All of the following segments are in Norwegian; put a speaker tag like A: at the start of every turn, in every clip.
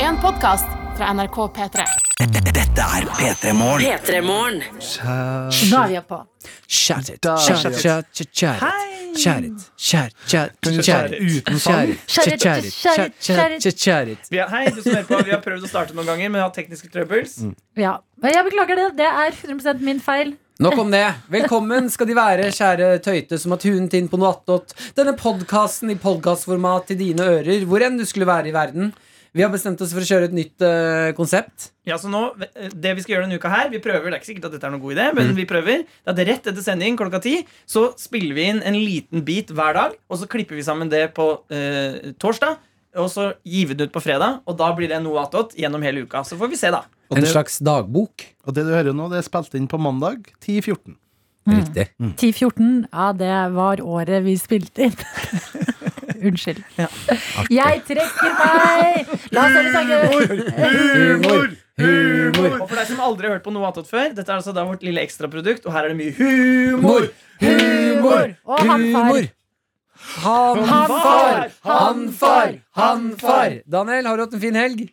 A: en podkast fra NRK P3.
B: Dette er P3 Morgen.
C: P3-morgen.
A: Daria på.
D: Shout it,
E: Da-
D: shout it, shout it, shout it, shout it, shout it, shout it,
E: Kan du
D: shout
E: ta
D: it,
E: det uten
D: shout it,
F: Shout it,
D: shout it,
F: shout it,
D: shout it, shout it.
G: Vi, er, hei, du som hører på, vi har prøvd å starte noen ganger, men har tekniske trøbbels.
F: Ja. Men jeg beklager det. Det er 100 min feil.
D: Nok om det. Velkommen skal de være, kjære tøyte som har tunet inn på noe attåt. Denne podkasten i podkastformat til dine ører, hvor enn du skulle være i verden. Vi har bestemt oss for å kjøre et nytt eh, konsept.
G: Ja, så nå, eh, det Vi skal gjøre denne uka her Vi prøver, det er ikke sikkert at dette er noen god idé, men vi prøver. Det er at Rett etter sending klokka ti Så spiller vi inn en liten bit hver dag, og så klipper vi sammen det på eh, torsdag. Og så gir vi det ut på fredag, og da blir det noe attåt gjennom hele uka. Så får vi se, da.
D: En slags dagbok.
E: Og det du hører nå, det er spilt inn på mandag 10.14.
D: Riktig.
F: 10-14, ja, det var året vi spilte inn. Unnskyld. Jeg trekker meg! La oss høre sangen.
D: Humor! Humor!
G: Og for deg som aldri har hørt på noe attåt før, dette er altså da vårt lille ekstraprodukt, og her er det mye humor.
D: Humor! Humor!
F: Og han far.
D: Humor! Han
F: Han
D: far!
F: far!
D: Han far! Han far! Daniel, har du hatt en fin helg?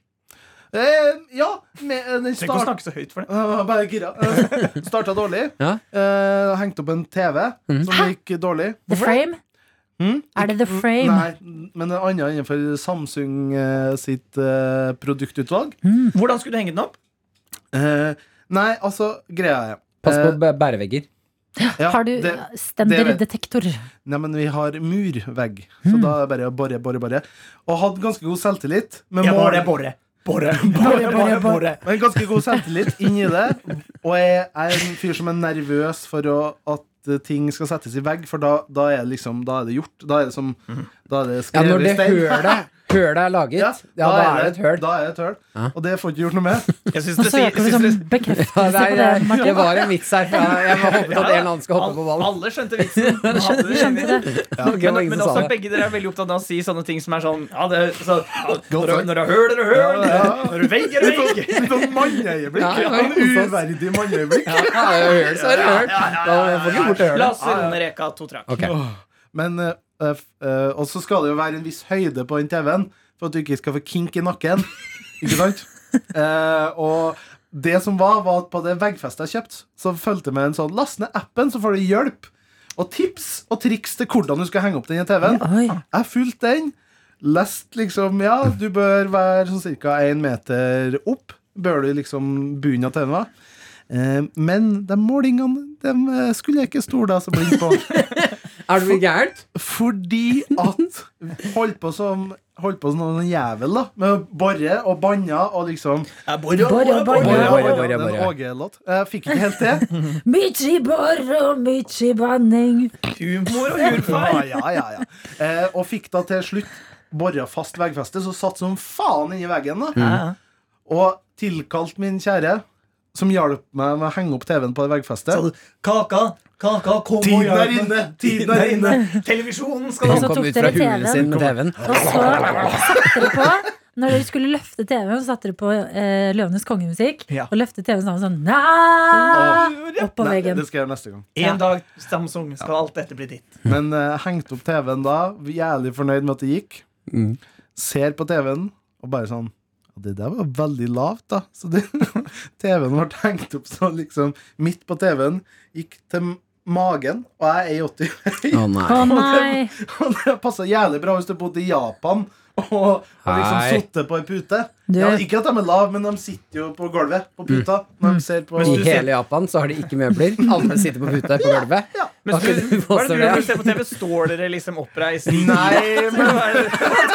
E: Eh, ja, med eh, den
G: Trenger ikke å
E: start...
G: snakke så høyt for det.
E: Jeg var Bare gira. Eh, Starta dårlig.
D: Ja. Mhm.
E: Eh, hengte opp en TV som gikk dårlig.
F: The Frame?
E: Hmm?
F: Er det The Frame?
E: Nei, men en annen innenfor Samsung eh, sitt eh, produktutvalg.
G: Hvordan skulle du henge den opp?
E: Eh, nei, altså, greia er
D: Pass
E: eh,
D: på bæ- bærevegger.
E: ja,
F: Har du
E: det- det-
F: stenderdetektor?
E: Nei, men vi har murvegg, så
F: Hmm.
E: da er det bare å bore, bore, bore. Og hadde ganske god selvtillit. Men mål-
G: Borre. Borre, borre, borre, borre.
E: Men ganske god selvtillit inni det. Og jeg er en fyr som er nervøs for å, at eh, ting skal settes i vegg, for da, da er det liksom Da er det gjort. Da er det som Da er det
D: Ja,
E: skrevet
D: når
E: i
D: det
E: stein.
D: hølet, hølet er laget, ja, da, er det et høl.
E: Da er det et høl.
D: Ja.
E: Og det får ikke gjort noe med.
G: Jeg syns
F: Nå
G: det sier-
F: søker vi sånn
G: jeg
F: som
G: syns det-
D: Ja,
F: bekreftelse
D: nei,
F: på det,
D: det, det
F: Martin.
D: var en vits her. For jeg, jeg håpet at en eller annen skal hoppe på ballen.
G: Alle skjønte vitsen. Men hadde det inni.
D: Ok, det var
G: Men,
D: ingen
G: men
D: som sa
G: også
D: det.
G: begge dere er veldig opptatt av å si sånne ting som er sånn ja, det, er så, ja,
E: Godt
G: Når du-
E: sagt.
G: når du har høl, er det høl.
E: Ja, ja.
G: Når du vegg, er det vegg.
E: Sånn manneøyeblikk.
D: Ja, det var
E: Sånn
D: koselig.
E: uverdig manneøyeblikk.
D: Ja, er det høl, så er det høl. Da får ikke bort det
G: La
D: hølet.
G: oss runde reka to trakk.
D: Ok.
E: Men eh, f- eh, Og så skal det jo være en viss høyde på den TV-en for at du ikke skal få kink i nakken. Ikke sant? Eh, og det som var, var at på det veggfestet jeg kjøpte, så fulgte med en sånn Last ned appen, så får du hjelp. Og tips og triks til hvordan du skal henge opp den i TV-en.
D: Oi.
E: Jeg fulgte den. Lest liksom Ja, du bør være sånn ca. én meter opp. Bør du liksom bunnen av TV-en, va? Eh, men de målingene dem eh, skulle jeg ikke stole deg så blind på.
D: Er du blitt gærent?
E: Fordi at Holdt på som Holdt på som en jævel da Med å borre og banna og liksom
F: Borre,
D: Borre,
F: borre.
D: borre, borre,
E: Det er en
D: borre.
E: Åge-låt. Jeg fikk ikke helt til
F: Michi borre og michi banning.
G: Humor og
E: ja,
G: hudfeil.
E: ja, ja, ja. Eh, Og fikk da til slutt Borret fast veggfeste Så satt som faen inni veggen da
G: Mm.
E: Og tilkalt min kjære Som hjalp meg med å henge opp TV-en på det veggfestet
G: Kaka, kaka, kom og
E: Tiden
G: hjelp
E: er
G: meg.
E: inne Tiden er inne
G: Televisjonen
D: Han
G: skal
F: så
D: kom
F: tok
D: ut fra
F: dere
D: hulen
F: TV-en.
D: sin med TV-en.
F: Og så satte dere på Når dere skulle løfte TV-en, så satte dere på eh, Løvenes kongemusikk.
G: Ja.
F: Og løftet TV-en sammen sånn Næ! Opp på
E: Nei,
F: veggen.
E: det skal jeg gjøre neste gang
G: En dag, Samsung, skal alt dette bli ditt.
E: Men eh, hengte opp TV-en da, jævlig fornøyd med at det gikk.
D: Mm.
E: Ser på TV-en og bare sånn «Ja, Det der var veldig lavt, da. Så det- TV-en ble hengt opp så liksom midt på TV-en, gikk til magen, og jeg er 80 høy.
D: Å nei.
F: Å nei.
E: Og det passa jævlig bra hvis du bodde i Japan og, og liksom
D: Hei.
E: sittet på ei pute.
F: Du.
E: Ja, ikke at de er lave, men de sitter jo på gulvet på puta når de ser på
D: I hele Japan så har de ikke møbler. Alle sitter på puta på gulvet.
E: ja.
G: Men
D: Hva er det du
G: hva er det du
D: påstår
G: gjør når du
D: det?
G: ser på TV? Står dere liksom oppreist?
E: Nei, men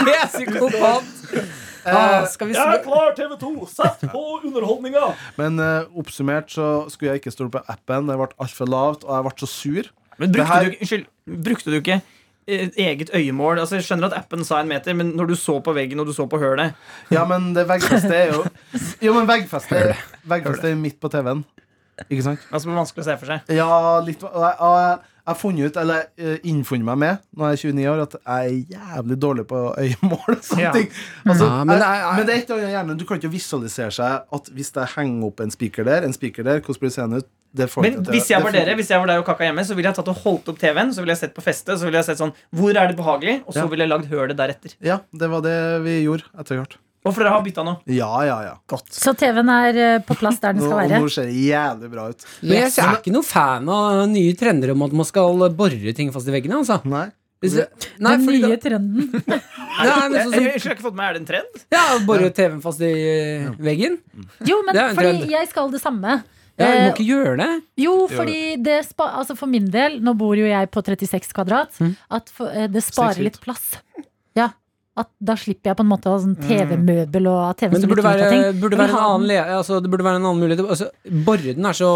D: Det er psykopat! Ah, skal vi
G: Jeg er
D: sn-
G: klar, TV2! Sett på underholdninga!
E: Men eh, oppsummert så skulle jeg ikke stole på appen. Det ble altfor lavt, og jeg ble så sur.
G: Men
E: Det
G: brukte,
E: her-
G: du, ikke- unnskyld, brukte du ikke eh, eget øyemål? Altså, jeg skjønner at appen sa en meter, men når du så på veggen og du så på hølet
E: Ja, men det veggfestet er jo Jo, men veggfestet veggfeste er jo midt på TV-en. Ikke sant?
G: altså, det var vanskelig å se for seg.
E: Ja, litt Og jeg- og jeg jeg har funnet ut, eller eh, innfunnet meg med, når jeg er 29 år, at jeg er jævlig dårlig på øyemål og sånne
G: Ja.
E: ting. Altså,
D: Ja,
E: jeg-
D: men det er-
E: men det er et eller annet i hjernen. Du kan ikke visualisere seg at hvis jeg henger opp en spiker der, en spiker der, hvordan blir scenen ut? Det får
G: Men
E: ikke til-
G: hvis jeg
E: det
G: var
E: får-
G: dere, hvis jeg var der og kakka hjemme, så ville jeg tatt og holdt opp TV-en, så ville jeg sett på festet, så ville jeg sett sånn Hvor er det behagelig? Og så
E: Ja.
G: ville jeg lagd hølet deretter.
E: Ja, det var det vi gjorde etter hvert.
G: Og for dere har bytta nå.
E: Ja, ja, ja. Godt.
F: Så TV-en er eh, på plass der den
E: Nå,
F: skal være.
E: nå ser det jævlig bra ut.
D: Men jeg er ikke noe fan av nye trender om at man skal borre ting fast i veggene. Altså.
E: Nei.
D: Hvis du- Nei,
F: Den
D: fordi da,
F: nye trenden.
D: nei, men sånn
G: Jeg, jeg,
D: som
G: jeg, har ikke fått med, meg, Er det en trend?
D: ja, Borre TV-en fast i eh, veggen.
F: Jo, men
D: Det er en
F: fordi
D: trend.
F: jeg skal det samme.
D: Ja, du må
F: Eh,
D: ikke gjøre det.
F: jo, fordi det spa, altså for min del, nå bor jo jeg på 36 kvadrat,
D: Mm.
F: at for, eh, det sparer
E: feet.
F: litt plass. Ja, at da slipper jeg på en måte å ha sånn
E: Mm.
F: TV-møbel og at TV
D: Men det
F: står
D: burde
F: litt ut
D: være,
F: av ting.
D: burde
F: Jeg
D: være
F: vil
D: en
F: ha den-
D: annen le, altså, Det burde være en annen mulighet altså, Borre den er så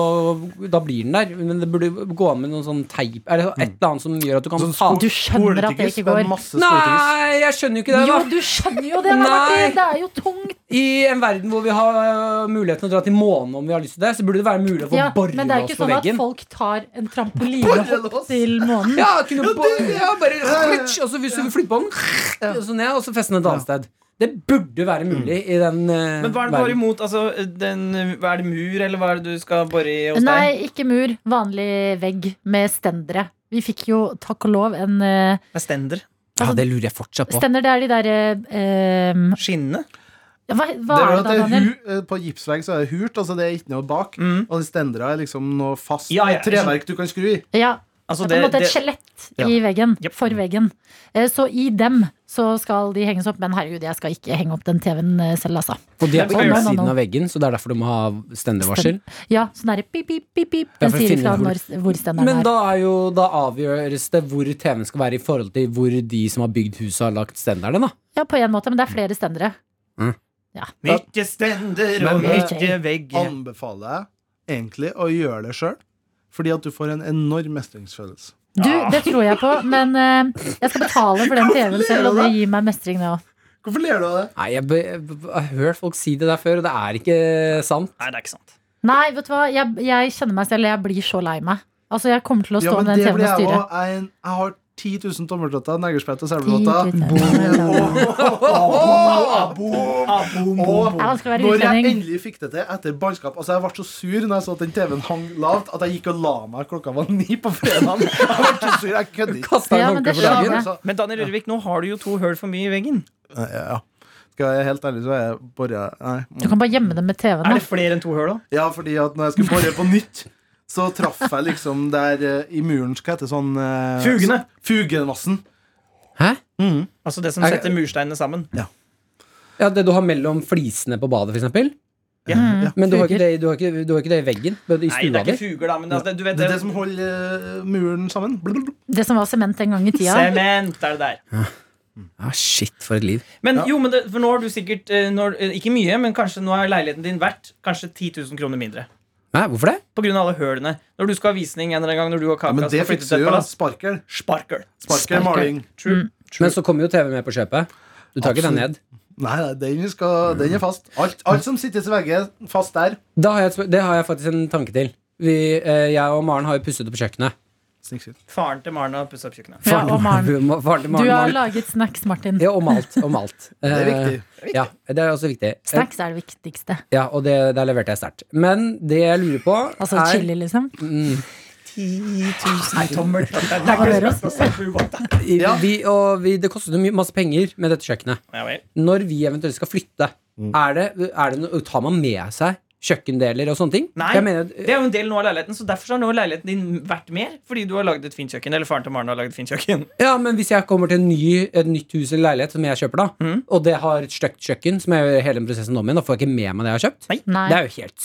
D: Da blir den der Men det burde gå an med noen sånn teip Er det så- et eller annet som gjør at du kan
E: Sånn
D: ta
F: Du skjønner at det
E: Sportikus,
F: ikke
E: er
F: går.
E: masse sportikus.
D: Nei, jeg skjønner jo ikke det
F: Jo,
D: da
F: du skjønner jo det, da,
D: Nei.
F: Martin! Det er jo tungt.
D: I en verden hvor vi har øh, muligheten å dra til månen Om vi har lyst til det Så burde det være mulig å få
F: Ja, men det
D: borre
F: er jo
D: oss
F: ikke
D: på
F: sånn at
D: veggen
F: folk tar en trampoline og hopper til månen.
D: Ja, kunne borre ja, bare, Og så hvis du flytter på den Og så ned, og så feste den et annet sted Det burde være mulig i den øh,
G: Men hva er det du har
D: verden
G: imot? Altså, den, hva er det mur, eller hva er det du skal bore i hos deg?
F: Nei, ikke mur. Vanlig vegg med stendere. Vi fikk jo, takk og lov, en eh,
G: Det er stender.
D: Ja, det lurer jeg fortsatt på
F: Stender, det er de derre eh,
G: Skinnene.
F: hva, hva
E: Det er jo
F: er
E: at
F: det da,
E: det er
F: Daniel?
E: hu, eh, på gipsvegg så er det hurt, altså det er ikke noe bak.
G: Mm.
E: Og de stendere er liksom noe fast
G: Ja, ja, jeg
E: treverk du kan skru i.
F: Ja,
G: Altså,
F: det er på en måte et
G: det-
F: skjelett
E: Ja.
F: i veggen.
G: Yep.
F: For veggen. Eh, Så i dem så skal de henges opp. Men herregud, jeg skal ikke henge opp den TV-en eh, selv, altså.
D: Og de er på
G: Å,
F: nei,
D: andre
F: nei,
D: siden
F: nei.
D: av veggen Så det er derfor du må ha stendevarsel
F: Ja, sånn derre pip, pip, pip, pip. Den
D: Ja, for å
F: sier
D: finne
F: ifra
D: hvor-
F: når, hvor stenderen
D: Men
F: er.
D: da, er jo, da avgjøres det hvor TV-en skal være i forhold til hvor de som har bygd huset, har lagt stenderne. da
F: Ja, på en måte, men det er flere stendere.
G: Mykje stender
E: Men,
G: og
E: eh,
G: mykje vegg.
E: Anbefaler jeg egentlig å gjøre det sjøl, fordi at du får en enorm mestringsfølelse.
F: Du, det tror jeg på, men eh, jeg skal betale for den TV-en selv, og det gir meg mestring, det òg.
E: Hvorfor ler du av det?
D: Nei, jeg, be- jeg, be- jeg har hørt folk si det der før, og det er ikke sant.
G: Nei, det er ikke sant.
F: Nei, vet du hva, jeg, jeg kjenner meg selv, jeg blir så lei meg. Altså, jeg kommer til å stå med den TV-en og
E: jeg
F: styre.
E: også. Jeg, er en- jeg har 10 000 tommeltotter, neglesprett og
F: Ti
E: selvblotter. Og
F: gutter. Jeg skal være
E: når jeg
F: utlending.
E: endelig fikk det til etter barnskap Altså Jeg ble så sur når jeg så at den TV-en hang lavt, at jeg gikk og la meg klokka var ni på fredagen. Jeg ble så sur, jeg kødder ikke.
D: Kasta en
F: Ja, men
D: håndkle
F: det
D: for
F: skjønner
D: dagen.
F: jeg.
G: Men Daniel Rørvik, nå har du jo to høl for mye i veggen.
E: Ja, ja. Skal jeg være helt ærlig, så er jeg bare Nei.
F: Du kan bare gjemme dem med TV-en.
G: Er
F: da.
G: det flere enn to høl òg?
E: Ja, fordi at når jeg skulle bore på nytt så traff jeg liksom der eh, i muren Hva heter sånn eh,
G: Fugene.
E: Fugemassen.
D: Hæ?
G: Altså det som
D: Er-
G: setter mursteinene sammen.
D: Ja, Det du har mellom flisene på badet, f.eks.
G: Ja.
E: Ja.
D: Men du har, ikke
F: Fuger.
D: det, du, har ikke, du har ikke det i veggen? men I
G: Nei, det
D: stua
G: er
D: di?
G: ikke fuger, da, men altså, det, du vet
E: Det er det som holder eh, muren sammen. Blablabla.
F: Det som var sement en gang i tida.
G: Sement er det der.
D: Ja, Ah, shit, for et liv.
G: Men jo, men det, for nå har du sikkert eh, nå har- eh, Ikke mye, men kanskje nå er leiligheten din verdt kanskje 10 000 kroner mindre.
D: Nei, hvorfor det?
G: På grunn av alle hølene. Når du skal ha visning en eller annen gang, når du og
E: Ja,
G: Kaka
E: men det
G: skal flytte
E: fikser
G: til et
E: jo
G: palass.
E: sparkel.
G: Sparkel.
E: Sparkel maling.
G: True.
F: Mm.
D: Men så kommer jo TV med på kjøpet. Du tar ikke den
E: Absolutt.
D: ned.
E: Nei, nei den, skal, den er fast. Alt, alt som sittes i veggen, fast der.
D: Da har jeg, et spør- det har jeg faktisk en tanke til. Vi, eh, jeg og Maren har jo pusset opp kjøkkenet.
E: Snikskritt.
G: Faren til Maren har pusset opp kjøkkenet.
F: Ja, og Maren.
D: Faren til
F: Du
D: Maren
F: har
D: har-
F: laget snacks, Martin.
D: Ja, og malt. Og malt. Eh,
E: Det er viktig.
D: Ja, det er også viktig. Eh,
F: Snacks er det viktigste.
D: Ja, og det, der leverte jeg sterkt. Men det jeg lurer på
F: Altså
D: er
F: chili, liksom.
G: 10 000 tommer. Det er
F: hører
G: ikke
F: oss.
G: spørsmål om ubåt, da.
D: i-
E: Ja.
D: vi, og vi, Det koster jo mye- masse penger med dette kjøkkenet.
G: Ja vel.
D: Når vi eventuelt skal flytte, er det, er det no, tar man med seg kjøkkendeler og sånne ting?
G: Nei,
D: Jeg mener,
G: det er jo en del nå av leiligheten, så derfor så har nå leiligheten din vært mer. Fordi du har laget et fint kjøkken. Eller faren til Maren har laget et fint kjøkken.
D: ja, men Hvis jeg kommer til en ny, et nytt hus eller leilighet som jeg kjøper, da og det har et stygt kjøkken, som jeg gjør hele den prosessen om igjen, da får jeg ikke med meg det jeg har kjøpt.
G: Nei.
F: Nei.
D: Det er jo helt
F: Men det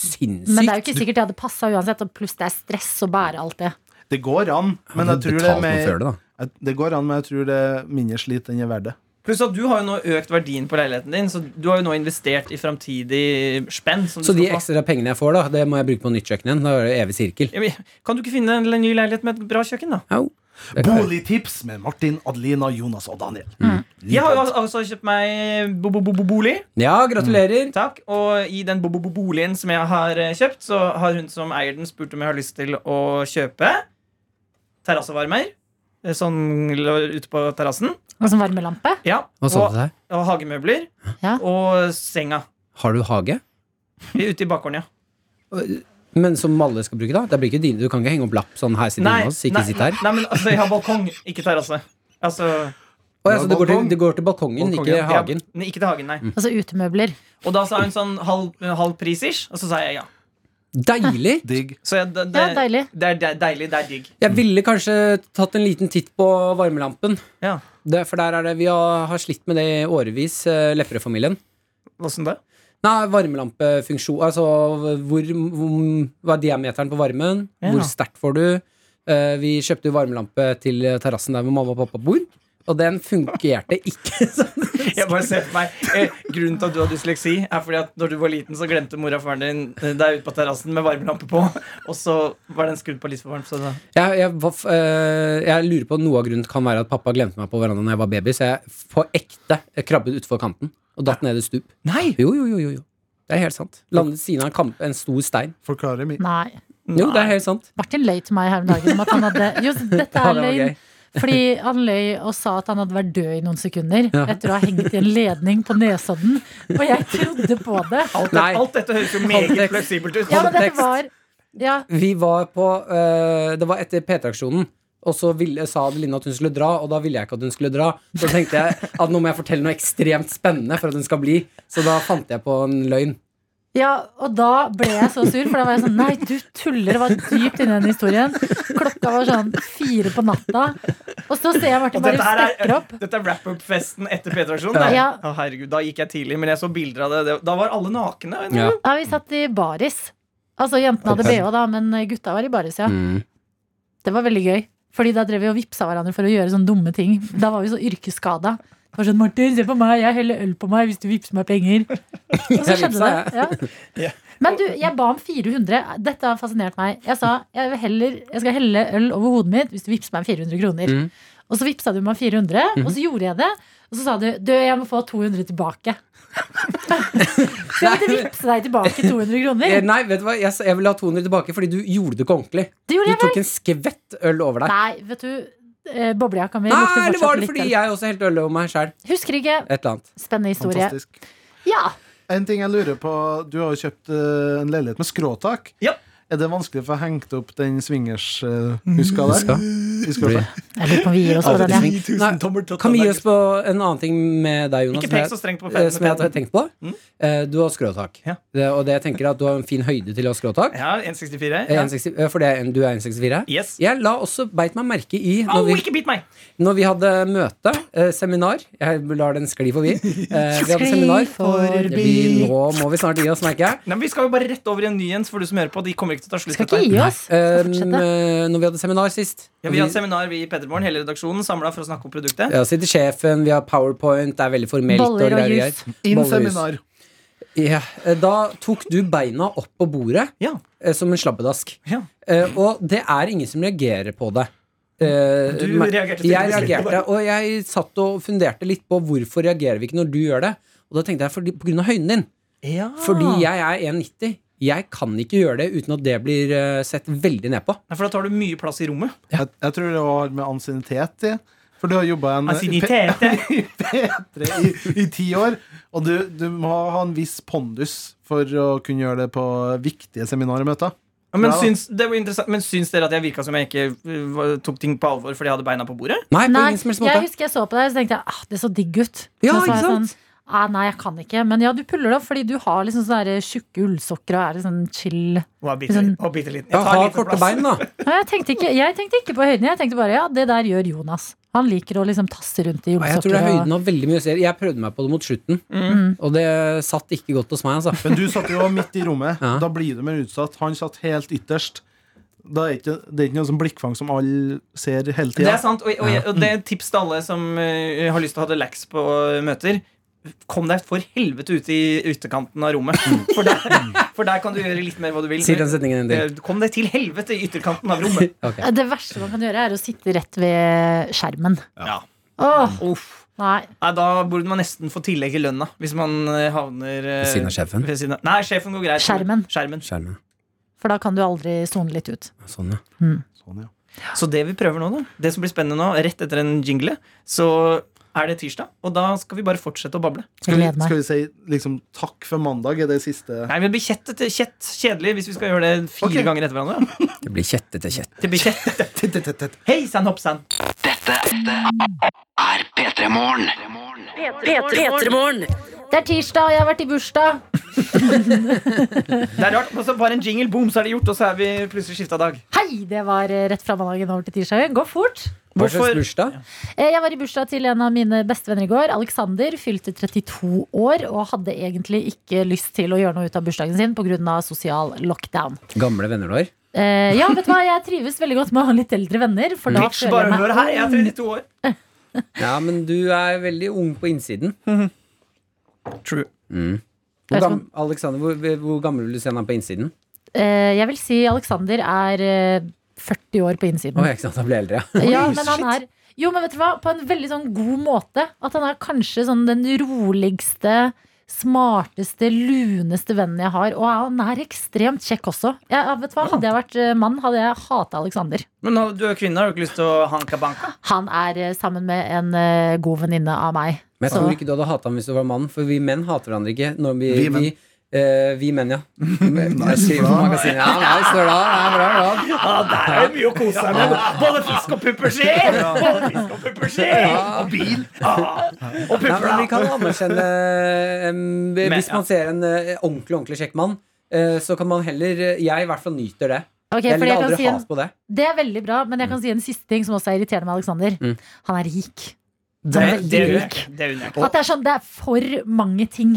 F: er
D: sinnssykt.
F: jo ikke sikkert det hadde passa uansett, og pluss det er stress å bære alt det.
E: Det går an, men
D: Ja,
E: jeg tror
D: du
E: det
D: betalte
E: er
D: noe før
E: mer
D: det, da.
E: jeg- Det går an, men jeg tror det er mindre slit enn jeg er verdt det.
G: Pluss at du har jo nå økt verdien på leiligheten din, så du har jo nå investert i framtidig spenn. Som
D: Så
G: du
D: de
G: skal få.
D: ekstra pengene jeg får, da, det må jeg bruke på nytt kjøkken igjen. Da er det evig sirkel.
G: Ja, men Kan du ikke finne en ny leilighet med et bra kjøkken, da?
D: Au. Det er-
E: Boligtips med Martin, Adelina, Jonas og Daniel.
G: Jeg har jo al- altså kjøpt meg bo bo bo bo bolig.
D: Ja, gratulerer.
G: Takk. Og i den bo bo bo boligen som jeg har eh, kjøpt, så har hun som eier den, spurt om jeg har lyst til å kjøpe terrassevarmer. eh, Sånn l- ute på terrassen.
F: Og som varmelampe.
G: Ja.
D: Hva sa du til deg?
G: og hagemøbler.
F: Ja.
G: Og senga.
D: Har du hage?
G: Vi er Ute i bakgården, ja.
D: Men som alle skal bruke, da? Det blir ikke dine, Du kan ikke henge opp lapp sånn her sitter inne hos, ikke
G: nei,
D: sitt her.
G: nei, men altså, jeg har balkong, ikke terrasse. Altså,
D: Å, ja, så det går, til,
E: Balkong.
D: det går til balkongen,
E: Balkong, ja.
D: ikke
G: Ja,
D: hagen. Mm.
G: nei, ikke til hagen, nei.
F: Altså utemøbler.
G: Og da sa hun sånn halv, halv pris-ish, og så sa jeg ja.
D: Deilig!
E: Digg.
G: Så jeg, det, det,
F: Ja, deilig.
G: det er de- deilig, det er digg.
D: Jeg ville kanskje tatt en liten titt på varmelampen.
G: Ja.
D: Det, for der er det, Vi har, har slitt med det i årevis, eh, Lepperød-familien.
G: Åssen da?
D: Nei, varmelampefunksjon Altså hvor, hvor, hva er diameteren på varmen?
G: Ja.
D: Hvor sterkt får du? Eh, vi kjøpte jo varmelampe til terrassen der hvor mamma og pappa bor, og den funkerte ikke. sånn.
G: Jeg bare ser for meg eh, Grunnen til at du har dysleksi, er fordi at når du var liten, så glemte mora og faren din eh, deg ute på terrassen med varmelampe på, og så var den skrudd på litt for varmt. Så da.
D: Jeg, jeg, var f- eh, jeg lurer på Noe av grunnen kan være at pappa glemte meg på verandaen da jeg var baby, så jeg på ekte krabbet utfor kanten og datt ned et stup.
G: Nei!
D: Jo, jo, jo, jo, jo. Det er helt sant. Landet ved siden av en, kamp, en stor stein.
E: Forklarer mye.
F: Nei.
D: Jo, det er helt sant.
F: Martin løy til meg her om dagen om at han hadde Jo, dette er
D: Ja, det var
F: løgn.
D: gøy.
F: Fordi han løy og sa at han hadde vært død i noen sekunder
D: Ja.
F: etter å ha hengt i en ledning på Nesodden. Og jeg trodde på det.
G: Alt,
D: Nei.
G: alt dette høres jo meget
D: Kontekst.
G: fleksibelt ut.
F: Ja, men dette
D: Kontekst.
F: var ja,
D: Vi var på eh, Det var etter P3-aksjonen. Og så ville, sa Adeline at hun skulle dra, og da ville jeg ikke at hun skulle dra. Så tenkte jeg at nå må jeg fortelle noe ekstremt spennende for at hun skal bli. Så da fant jeg på en løgn.
F: ja, og da ble jeg så sur, for da var jeg sånn Nei, du tuller! Det var dypt inni den historien. Klokka var sånn fire på natta. Og så ser jeg
G: Og
F: Martin
G: dette,
F: bare
G: her er,
F: stepper opp.
G: dette er wrap-up-festen etter P3-aksjonen.
D: Ja.
G: det.
F: Ja.
G: Å, herregud, Da gikk jeg tidlig, men jeg så bilder av det. det. Da var alle nakne.
D: Ja.
F: Ja, vi satt i baris. Altså, jentene hadde bh, da, men gutta var i baris, ja.
D: Mm.
F: Det var veldig gøy. Fordi da drev vi og vipsa hverandre for å gjøre sånne dumme ting. Da var vi så yrkesskada. Det var Sånn, Martin, se på meg, jeg heller øl på meg hvis du vipser meg penger. Og så
D: Jeg
F: skjedde
D: vipsa,
F: det. Ja. Men du, jeg ba om 400. Dette har fascinert meg. Jeg sa jeg, vil heller, jeg skal helle øl over hodet mitt hvis du vipser meg 400 kroner.
D: Mm. Mhm.
F: Og så vipsa du meg 400, og så gjorde jeg det. Og så sa du du, jeg må få 200 tilbake. så jeg måtte vipse deg tilbake 200
D: Eh,
F: kroner.
D: Nei, vet du hva? Jeg, sa- jeg ville ha 200 tilbake fordi du gjorde det ikke ordentlig.
F: Det
D: Du
F: gjorde jeg vel?
D: tok en skvett øl over deg.
F: Nei, vet du. eh, Boblejakka mi
D: Nei,
F: lukter
D: eller var
F: fortsatt
D: det
F: litt.
D: fordi
F: øl.
D: jeg også helte øl over meg sjæl?
F: Husker ikke.
D: Et eller annet.
F: Spennende historie.
E: Fantastisk.
F: Ja.
E: En ting jeg lurer på Du har jo kjøpt eh, en leilighet med skråtak.
G: Ja.
E: Er det vanskelig å få hengt opp den swingers-huska der? I skråtak?
F: Jeg lurer på om vi gir oss på
D: Altså,
F: den. Ja.
D: Nei, Kan vi gi oss på en annen ting med deg, Jonas?
G: Ikke
D: som jeg-
G: pek så strengt på
D: Eh, som jeg har
G: føttene.
D: tenkt på.
G: Mm.
D: Eh, Du har skråtak.
G: Ja.
D: Det, og det jeg tenker er at du har en fin høyde til å ha skråtak.
G: Ja, 1,64.
D: Eh,
G: Ja.
D: 1,60 eh, For det er en, du er 1,64.
G: Yes.
D: Jeg la også beit meg merke i
G: Au,
D: når vi,
G: ikke bit meg!
D: når vi hadde møte, eh, seminar Jeg lar den skli forbi. Eh, vi hadde
F: Skli
D: seminar.
F: forbi.
D: Vi- Nå må vi snart gi oss, merker jeg.
G: Nei, men Vi skal jo bare rette over i en ny en, for du som hører på. De kommer ikke til å ta slutt.
F: Skal
G: dette
F: ikke
G: her.
F: gi oss. Skal
D: Um,
F: fortsette.
D: eh, når vi hadde seminar sist.
G: Ja, vi har et seminar vi i Pederborn, hele redaksjonen samla for å snakke om produktet.
D: ja, sitter sjefen, vi har powerpoint, det er veldig formelt.
F: Boller og
D: greier
F: juice.
D: greier.
E: In
D: Boller og
E: seminar.
D: juice. Ja. eh, Da tok du beina opp på bordet
G: Ja.
D: eh, som en slabbedask.
G: Ja.
D: Eh, og det er ingen som reagerer på det. Eh,
G: Du
D: men- jeg
G: reagerte tydeligvis litt på
D: reagerte,
G: det.
D: og jeg satt og funderte litt på hvorfor reagerer vi ikke når du gjør det. Og da tenkte jeg fordi, på grunn av høyden din. Fordi jeg er 1,90. Jeg kan ikke gjøre det uten at det blir eh, sett veldig ned på.
G: Nei, For da tar du mye plass i rommet.
E: Jeg, jeg tror det har med ansiennitet i. For du har jobba en
G: Ansiennitet.
E: P3 i, i ti år, og du, du må ha en viss pondus for å kunne gjøre det på viktige seminarer og møter.
G: Ja, Men
E: Ja.
G: syns, det var interessant. Men syns dere at jeg virka som jeg ikke uh, tok ting på alvor fordi jeg hadde beina på bordet?
D: Nei, på
F: Nei,
D: ingen som helst
F: jeg
D: måte.
F: husker jeg så på deg, så tenkte jeg ah, det så digg ut. Men
D: Ja,
F: så var
D: ikke
F: jeg
D: sant?
F: Sånn, ah, nei, jeg kan ikke. Men ja, du puller det opp fordi du har liksom sånne der tjukke ullsokker og er litt sånn chill.
G: Og er bitte,
F: Sånn.
G: og bitte liten.
D: Ja,
G: Jeg tar
D: ha
G: lite
D: korte
G: plass.
D: bein, da.
F: Nei, jeg, tenkte ikke, jeg tenkte ikke på høyden. Jeg tenkte bare ja, det der gjør Jonas. Han liker å liksom tasse rundt i
D: Ja, Jeg
F: ullsokker.
D: tror det er
F: og-
D: høyden har veldig mye å si. Jeg prøvde meg på det mot slutten,
F: Mm.
D: og det satt ikke godt hos meg. Altså.
E: Men du satt jo midt i rommet.
D: Ja.
E: Da blir du mer utsatt. Han satt helt ytterst. Da er ikke, det er ikke noe sånn blikkfang som alle ser hele
G: Det
E: tida.
G: er sant, og, og, jeg- og det er et tips til alle som eh, har lyst til å ha det lax på eh, møter. Kom deg for helvete ut i utekanten av rommet. For der, for der kan du gjøre litt mer hva du vil.
D: Si Mm. den setningen en
G: Eh,
D: til.
G: Kom deg til helvete i ytterkanten av rommet.
D: Ok.
F: Det verste man kan gjøre, er å sitte rett ved skjermen.
G: Ja.
F: Åh,
G: Uff.
F: nei.
G: Nei, da burde man nesten få tillegg i lønna hvis man eh, havner eh,
D: Ved siden av sjefen?
G: ved siden av- Nei, sjefen går greit.
F: Skjermen.
G: Skjermen.
D: Skjermen.
F: For da kan du aldri sone litt ut.
D: Sånn, ja.
E: Sånn, ja.
G: Så det vi prøver nå, da, det som blir spennende nå, rett etter en jingle, så er det tirsdag, og da skal vi bare fortsette å bable.
F: Jeg
E: skal, vi,
F: gleder meg.
E: skal vi si liksom takk for mandag? Er det siste
G: Nei, vi blir kjett, etter- kjett kjedelig hvis vi skal gjøre det fire
E: Ok.
G: ganger etter hverandre.
D: Det blir kjettete kjett.
G: Det blir kjett.
E: Tett, tett, tett, tett.
G: Hei sann, hopp sann.
H: Dette er P3 Morgen.
I: P3morgen.
F: Det er tirsdag, og jeg har vært i bursdag.
G: Det er rart. Og så bare en jingle, boom, så er det gjort, og så er vi plutselig skifta dag.
F: Hei! Det var eh, rett fra mandagen over til tirsdagen. Gå fort.
D: Hva slags
G: Hvorfor-
D: bursdag?
F: Eh, Jeg var i bursdag til en av mine bestevenner i går. Alexander fylte 32 år og hadde egentlig ikke lyst til å gjøre noe ut av bursdagen sin pga. sosial lockdown.
D: Gamle venner du har?
F: Eh, ja, vet du hva, jeg trives veldig godt med å ha litt eldre venner. For da
G: Bitch, bare hør her, jeg er 32 år.
D: Ja, men du er veldig ung på innsiden.
G: True.
D: Hvor
F: Jeg
D: gam Alexander, hvor, hvor gammel vil du se han er på innsiden?
F: Eh, jeg vil si Alexander er eh, 40 år på innsiden.
D: Å, jeg ikke sant, han blir eldre, ja.
F: Ja, men han er Jo, men vet du hva? På en veldig sånn god måte. At han er kanskje sånn den roligste, smarteste, luneste vennen jeg har. Og han er ekstremt kjekk også. Jeg, ja, vet du hva? Hadde jeg vært eh, mann, hadde jeg hata Alexander.
G: Men nå, du er kvinne, har du ikke lyst til å hanka-banka?
F: Han er eh, sammen med en eh, god venninne av meg.
D: Men jeg
F: Så-
D: tror ikke du hadde hata ham hvis du var mann, for vi menn hater hverandre ikke. Når vi,
E: Vi
D: vi
E: menn.
D: menn. Vi, eh, vi menn, ja. Jeg skriver på
E: bra.
D: magasinet. Ja, nice, bra, ja, bra, bra.
G: Ja, der er det mye å kose seg med. Både fisk og pupperskjell! Både fisk og pupperskjell! Og bil. Ah, og
D: Nei,
G: pupper.
D: men vi kan anerkjenne em, Hvis
G: ja.
D: man ser en eh, ordentlig, ordentlig kjekk mann, eh, så kan man heller Jeg i hvert fall nyter det.
F: Ok,
D: Jeg
F: fordi
D: vil
F: jeg kan
D: aldri
F: si en,
D: has på det.
F: det er veldig bra, men jeg kan si en siste ting som også er irriterende med Alexander.
D: Mm.
F: Han er rik.
G: Det,
F: Han er
G: det,
F: veldig
G: unner
F: rik.
G: jeg- det unner jeg ikke.
F: At det er sånn, det er for mange ting.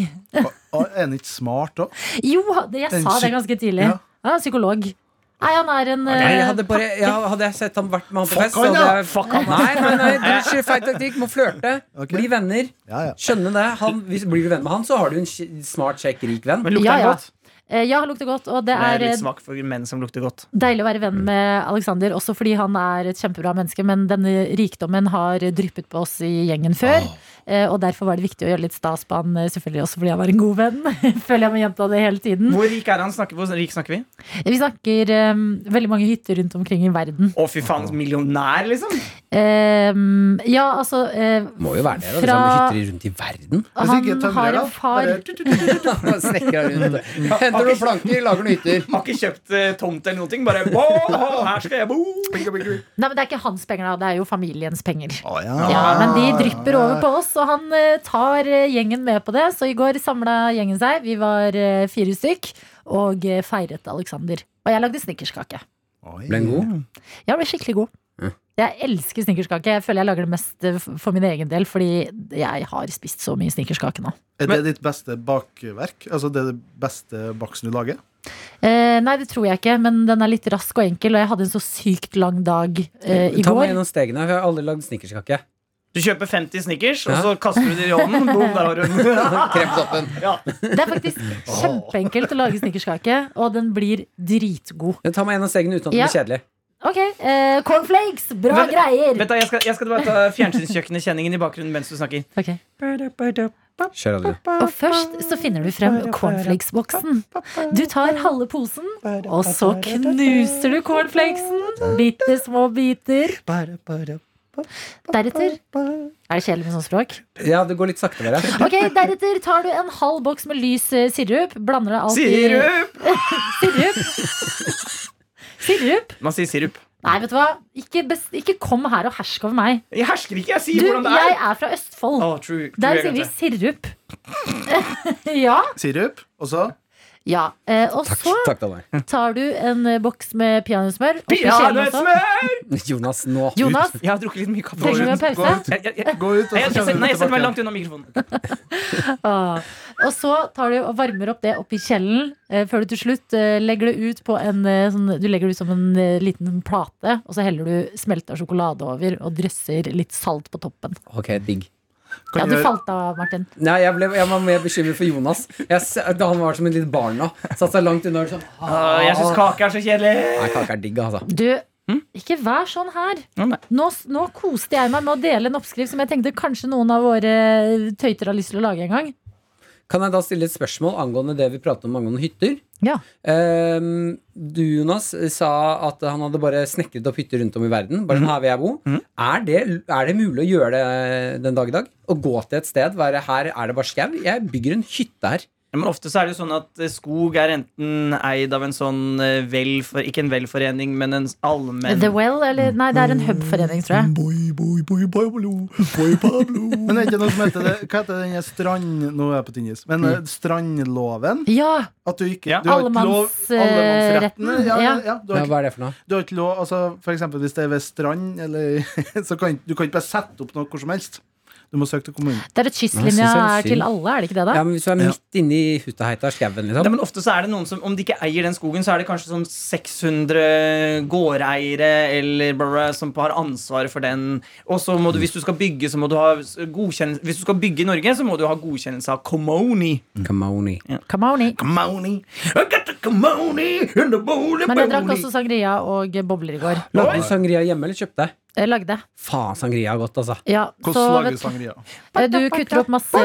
E: Og er han ikke smart òg?
F: Jo, det, jeg
E: En
F: sa det
E: psyk-
F: ganske tidlig.
E: Ja.
F: Han er psykolog. Nei, han er en
D: Nei,
F: eh,
D: hadde, bare, ja, hadde jeg sett ham vært med han på
E: Fuck
D: fest, så
E: han,
D: hadde
E: ja.
D: jeg Nei, nei, nei, det er ikke feil taktikk. Må flørte.
E: Ok.
D: Bli venner.
E: Ja, ja.
D: Skjønne det. Han, hvis blir du venn med han, så har du en kj- smart, kjekk, rik venn.
G: Men lukter
F: Ja,
G: den
F: ja.
G: godt?
F: eh, Ja, han lukter godt. Og det
G: Jeg
F: er
G: er litt
F: eh,
G: svak for menn som lukter godt.
F: deilig å være venn med Alexander, også fordi han er et kjempebra menneske. Men denne rikdommen har dryppet på oss i gjengen før.
E: Ah.
F: eh, Og derfor var det viktig å gjøre litt stas på han, eh, selvfølgelig også fordi han var en god venn. Føler jeg med jenta det hele tiden.
G: Hvor rik er han? Snakker, hvor rik snakker vi?
F: Vi snakker eh, veldig mange hytter rundt omkring i verden.
G: Å, fy faen, millionær, liksom?
F: Eh, ja, altså eh,
D: Må jo være det, da. Hvis
F: Fra-
D: han hytrer rundt i verden.
E: Hvis
F: Han
E: ikke tømrer
F: har
E: da,
F: en far
E: bare tut, tut, tut, tut.
D: Snekrer rundt. Henter noen planker, lager noen hytter.
G: Har ikke kjøpt eh, tomt eller noen ting. Bare wow, her skal jeg bo!
F: Nei, men det er ikke hans penger, da. Det er jo familiens penger.
E: Å,
F: Ja, men
D: Ah.
F: de drypper over på oss, og han eh, tar eh, gjengen med på det. Så i går samla gjengen seg. Vi var eh, fire stykk og eh, feiret Alexander. Og jeg lagde snickerskake.
E: Oi.
D: Ble den god?
F: Jeg ble skikkelig god. Jeg elsker snickerskake. Jeg føler jeg lager det mest eh, f- for min egen del, fordi jeg har spist så mye snickerskake nå.
E: Er det ditt beste bakverk? Altså det beste baksten du lager?
F: Eh, nei, det tror jeg ikke, men den er litt rask og enkel, og jeg hadde en så sykt lang dag eh, i
D: Ta meg
F: går.
D: gjennom stegene. for Jeg har aldri lagd snickerskake.
G: Du kjøper 50 Snickers,
D: Ja.
G: og så kaster du det i ovnen. Boom, der har du den.
D: Kremtoppen.
G: Ja.
F: Det er faktisk kjempeenkelt å lage snickerskake, og den blir dritgod.
D: Ta meg gjennom stegene uten at det
F: Ja.
D: blir kjedelig.
F: Ok, eh, cornflakes, bra
G: Vent-
F: greier!
G: Vent da, jeg skal, jeg skal bare ta fjernsynskjøkkenet-kjenningen i bakgrunnen mens du snakker.
F: Ok.
D: Kjør alle.
F: Og først så finner du frem cornflakesboksen. Du tar halve posen, og så knuser du cornflakesen. Bitte små biter. Deretter Er det kjedelig med sånt språk?
D: Ja, det går litt sakte, dere.
F: Ok, Deretter tar du en halv boks med lys eh, sirup. Blander det alt i
G: Sirup!
F: Sirup! Sirup?
G: Man sier sirup.
F: Nei, vet du hva? Ikke, best, ikke kom her og hersk over meg.
G: Jeg hersker ikke, jeg sier
F: Du,
G: hvordan det
F: jeg
G: er.
F: er fra Østfold.
G: Å, true, true,
F: Der
G: jeg
F: sier vi
G: glemte.
F: sirup. Ja.
E: Sirup? Og så
F: ja. Eh, Og så
D: Takk til alle.
F: tar du en eh, boks med peanøttsmør. oppi kjelen også.
G: Peanøttsmør!
D: Jonas, nå.
F: Jonas,
G: Jeg har drukket litt mye kaffe.
F: trenger du en
E: Gå
F: pause?
E: ut,
G: Jeg, jeg, jeg,
E: gå ut og
G: jeg,
E: så
G: jeg,
E: kjenner du
G: nei, jeg setter
E: tilbake.
G: meg langt unna mikrofonen.
F: Ah. Og så tar du og varmer opp det oppi kjelen eh, før du til slutt eh, legger det ut på en eh, sånn, Du legger det ut som en eh, liten plate, og så heller du smelta sjokolade over og drysser litt salt på toppen.
D: Ok, digg.
E: Kan
F: Ja, du
E: gjøre-
F: falt av, Martin.
D: Nei, jeg, ble, jeg var mer bekymret for Jonas. Jeg, s- da han var som et lite barn nå. Satt seg langt unna. og Sånn.
G: Å, jeg syns kake er så kjedelig.
D: Nei, kake er digg, altså.
F: Du,
E: Mm?
F: ikke vær sånn her.
G: Å, nei.
F: Nå, s- nå koste jeg meg med å dele en oppskrift som jeg tenkte kanskje noen av våre eh, tøyter har lyst til å lage en gang.
D: Kan jeg da stille et spørsmål angående det vi pratet om angående hytter?
F: Ja.
D: Ehm, du, Jonas, sa at han hadde bare snekret opp hytter rundt om i verden. Bare sånn, her vil jeg bo. Er, det, er det mulig å gjøre det den dag i dag? Å gå til et sted, være her er det bare skau? Jeg bygger en hytte her.
G: Ja, men ofte så er det jo sånn at eh, skog er enten eid av en sånn eh, velfor, Ikke en velforening, men en allmenn
F: The Well, eller Nei, det er en hubforening, tror jeg.
E: Men det er ikke noe som heter det Hva heter denne strand... Nå er jeg på tynnis. Men
D: Mm.
E: eh, strandloven?
F: Ja!
E: At du ikke
G: Ja.
E: du har ikke lov-
F: Allemanns, eh, retten,
E: Ja, ja.
F: ja.
E: ja, du
D: Ja,
E: har ikke,
D: hva er det for noe?
E: du har ikke lov altså, For eksempel hvis det er ved strand, eller, så kan ikke- du kan ikke bare sette opp noe hvor som helst. Du må søke til kommunen.
F: Det er et
D: Nei,
F: kystlinja
D: jeg synes det er
F: er til
D: synd.
F: alle, er det ikke det, da?
D: Ja, men Hvis du er
E: Ja.
D: midt inne i hutaheita skauen,
G: Ja,
D: liksom.
G: men ofte så er det noen som, Om de ikke eier den skogen, så er det kanskje sånn 600 gårdeiere eller bare, som har ansvaret for den. Og så må du, hvis du skal bygge, så må du ha s- godkjennelse Hvis du skal bygge i Norge, så må du ha godkjennelse av Komoni.
D: Kamoni.
F: Come on in.
E: Morning.
G: I got the Komoni in the bowling
F: Men jeg drakk
G: bowling.
F: også sangria og bobler i går.
D: Lagde du sangria hjemme, eller kjøpte?
F: Jeg lagde.
D: Faen, sangria er godt, altså.
F: Ja, så
E: Hvordan lager
F: vet,
E: du sangria?
F: du kutter opp masse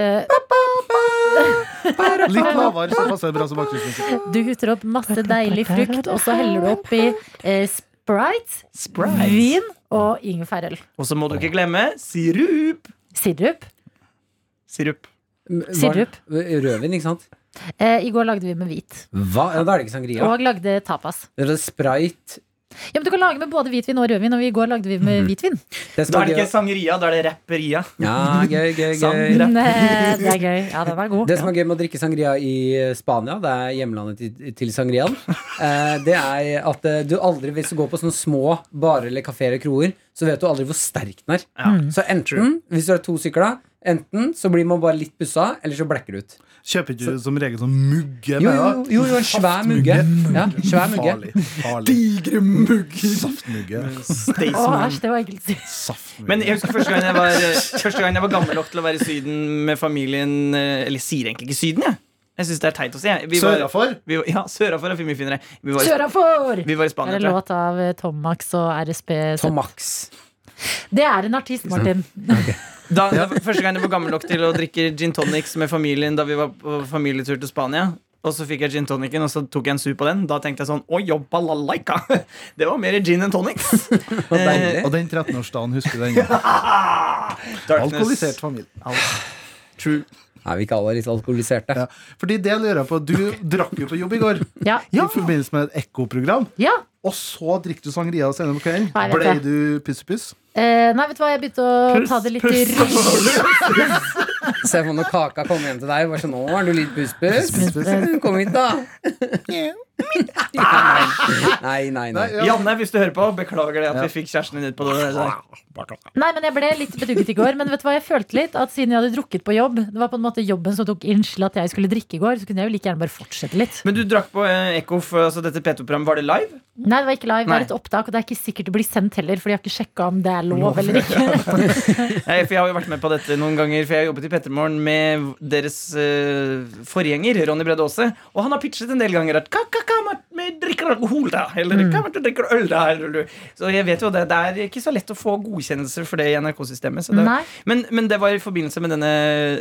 E: Litt lavere, så passer det bra som bakgrunnsmusikk.
F: Du kutter opp masse deilig frukt, og så heller du oppi eh, sprite,
G: Sprite.
F: vin og ingefærøl.
G: Og så må du ikke glemme sirup.
F: Sirup.
G: Sirup.
D: M- var-
F: Sirup.
D: Rødvin, ikke sant?
F: Eh, I går lagde vi med hvit.
D: Hva? Ja, da er det ikke sangria.
F: Og lagde tapas.
D: Det er sprite.
F: Ja, men Du kan lage med både hvitvin og rødvin, og i går lagde vi med hvitvin.
D: Det
G: Da er det
D: gøy.
G: ikke sangeria, da er det rapperia.
D: Ja, gøy, gøy, gøy.
G: Sangria.
F: Men, eh, det er gøy. Ja, den var god.
D: Det som er gøy med å drikke sangria i Spania, det er hjemlandet til, til sangriaen, eh, det er at eh, du aldri, hvis du går på sånne små barer eller kafeer og kroer, så vet du aldri hvor sterk den er.
G: Mm.
D: Så enten, hvis du har to stykker da, enten så blir man bare litt bussa, eller så blekker du ut.
E: Kjøper ikke du som regel sånn mugge
D: Jo,
E: med?
D: jo,
E: da?
D: jo, jo en svær mugge. Ja, svær mugge.
E: Farlig. farlig.
G: Digre mugger.
E: Saftmugge.
F: Å,
G: Staysman.
F: æsj, det var ekkelt.
E: Saftmugge.
G: Men jeg husker første gang jeg var, første gang jeg var gammel nok til å være i Syden med familien eh, Eller sier egentlig ikke Syden, jeg. Jeg syns det er teit å si. jeg. Vi var,
E: Sørafor?
G: vi var, ja, sørafor er mye finere. Vi var, i-
F: Kjøra for!
G: vi var i
F: Er
G: Spania.
F: det
G: tror jeg.
F: låt av eh, Tom Max og RSP?
D: Tom Max.
F: Det er en artist, Martin.
G: Da, da, første gang jeg var gammel nok til å drikke gin tonics med familien da vi var på familietur til Spania. Og så fikk jeg gin tonicen, og så tok jeg en sup på den. Da tenkte jeg sånn Oi, jo, balalaika! Det var mer gin enn tonics.
D: Hva deilig.
E: Og den 13-årsdagen, husker du den?
G: Ah!
E: Alkoholisert familie.
G: True.
D: Er vi ikke alle litt alkoholiserte?
E: Ja. Fordi det lurer jeg på, Du drakk jo på jobb i går
F: Ja.
E: i forbindelse med et ekkoprogram.
F: ja.
E: Og så drikker du sangria senere på kvelden.
F: Nei, jeg vet
E: Ble
F: det.
E: du pussepuss?
F: Eh, nei, vet du hva, jeg begynte å ta det litt i ro.
D: Se for deg når kaka kommer hjem til deg. Bare sånn, nå er du litt buss-buss. Kom hit, da. Nei, nei, nei.
E: ja.
G: Janne, hvis du hører på, beklager det at vi fikk kjæresten din ut på det. der.
F: Nei, men jeg ble litt bedugget i går. Men vet du hva, jeg følte litt at siden jeg hadde drukket på jobb, det var på en måte jobben som tok inch til at jeg skulle drikke i går, så kunne jeg jo like gjerne bare fortsette litt.
G: Men du drakk på eh, Ekko, for, altså dette P2-programmet, var det live?
F: Nei, det var ikke live, det
G: Nei.
F: er et opptak, og det er ikke sikkert det blir sendt heller, for de har ikke sjekka om det er lov eller ikke.
G: Nei, for Jeg har jo vært med på dette noen ganger, for jeg har jobbet i Pettermorgen med deres eh, forgjenger, Ronny Brede Aase. Og han har pitchet en del ganger at hva hva- hva med at vi drikker alkohol da? Eller
F: Mm.
G: hva med at du drikker øl da? Eller, du- Så jeg vet jo det, det er ikke så lett å få godkjennelse for det i NRK-systemet. så det-
F: Nei.
G: Men, men det var i forbindelse med denne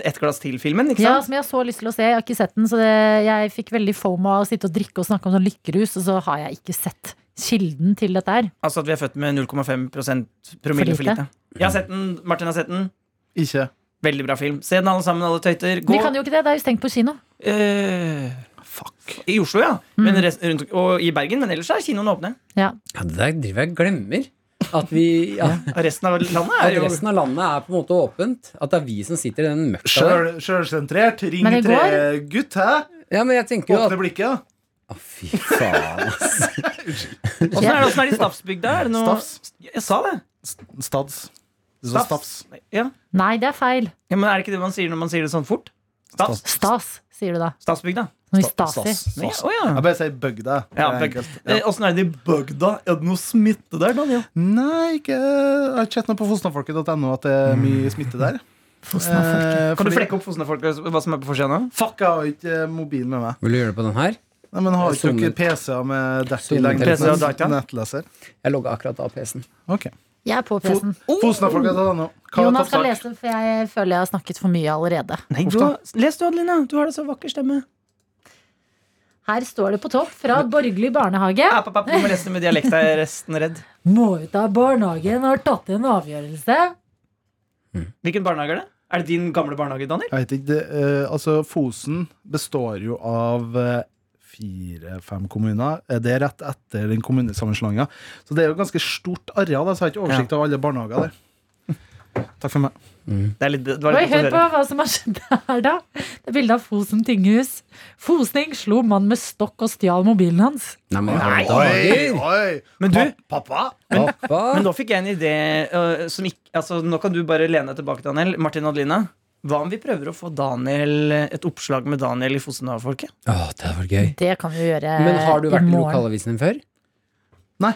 G: Et glass til-filmen, ikke
F: Ja,
G: sant?
F: som jeg har så lyst til å se. Jeg har ikke sett den, så det, jeg fikk veldig fomo av å sitte og drikke og snakke om sånn lykkerus, og så har jeg ikke sett kilden til dette her.
G: Altså at vi er født med 0,5 promille
F: For
G: for
F: lite.
G: lite. Jeg har sett den, Martin har sett den.
E: Ikke.
G: Veldig bra film. Se den alle sammen, alle tøyter. Gå.
F: Vi kan jo ikke det, det er jo stengt på kino.
G: Eh, I Oslo, ja.
F: Mm.
G: Men rest, rundt, og i Bergen. Men ellers er kinoene åpne.
F: Ja.
D: Ja, det der driver jeg og glemmer. At vi ja,
G: Og Resten av landet
D: At
G: er jo
D: resten av landet er på en måte åpent. At det er vi som sitter i den møkka der.
E: Sjøl- Sjølsentrert. Ring
F: Men i går-
E: tre gutt, hæ?
D: Ja, men jeg tenker jo at
E: Åpne blikket.
D: Å, fy faen, ass.
G: Åssen er, det- åssen er det i Stafsbygda? Er det noe
E: Stafs.
G: Jeg sa det.
E: Stads. Du sa Staps.
G: Ja.
F: Nei, det er feil.
G: ja, Men er det ikke det man sier når man sier det sånn fort? Stafs.
F: Stas, sier du da.
G: Stafsbygda.
F: Noe i Stasi.
G: Nei, Å ja.
E: Jeg bare sier bøgda. Det
G: Ja,
E: er
G: bøg-
E: enkelt.
G: Eh, Åssen er det i bygda? Er det noe smitte der, Daniel?
E: Nei, ikke Jeg har ikke sett noe på fosnafolket.no at det er mye smitte der. Eh,
G: Kan du
E: fordi-
G: flekke opp Fosna-folk og altså, hva som er på forsida nå?
E: Fuck, jeg har jo ikke eh, mobilen med meg.
D: Vil du gjøre det på den her?
E: Nei, men Har ikke dere
D: Zoom-
E: PC-er med dertil
D: Zoom-
G: PC og data?
E: nettleser?
D: Jeg logga akkurat av PC-en.
E: Ok
F: Jeg er på
E: Fo-
F: PC-en.
E: Fosnafolket til denne. Hva er
F: Oh! Jonas skal
E: toppsak?
F: lese, for jeg føler jeg har snakket for mye allerede.
G: Nei, du, har- les du, Adelina. Du har det så vakker stemme.
F: Her står det på topp fra borgerlig barnehage.
G: Ja, pappa, du må lese det med dialekt. Jeg er resten redd.
F: Må ut av barnehagen har tatt en avgjørelse.
G: Hvilken barnehage er det? Er det din gamle barnehage, Daniel?
E: Jeg vet ikke, det, eh, altså Fosen består jo av eh, fire-fem kommuner. Eh, Det er rett etter den kommunesammenslåinga. Så det er jo et ganske stort areal. da, Så jeg har ikke oversikt over alle barnehager der. Takk for meg.
G: Det, er litt, det var
F: Oi,
G: litt
F: hør
G: godt å
F: på
G: høre.
F: hva som har skjedd her, da. Det er bilde av Fosen tinghus. Fosning slo mann med stokk og stjal mobilen hans.
D: Nei, men, da-
E: oi.
G: Men du-
E: Pa- Pappa?
J: Pappa.
G: Men nå fikk jeg en idé øh, som ikke Altså, nå kan du bare lene deg tilbake, Daniel. Martin og Adelina. Hva om vi prøver å få Daniel et oppslag med Daniel i Fosenhav-folket?
D: Åh, det hadde vært gøy.
F: Det kan vi jo gjøre
D: Men har du
F: Eh, i
D: vært i
F: morgen.
D: lokalavisen din før?
E: Nei.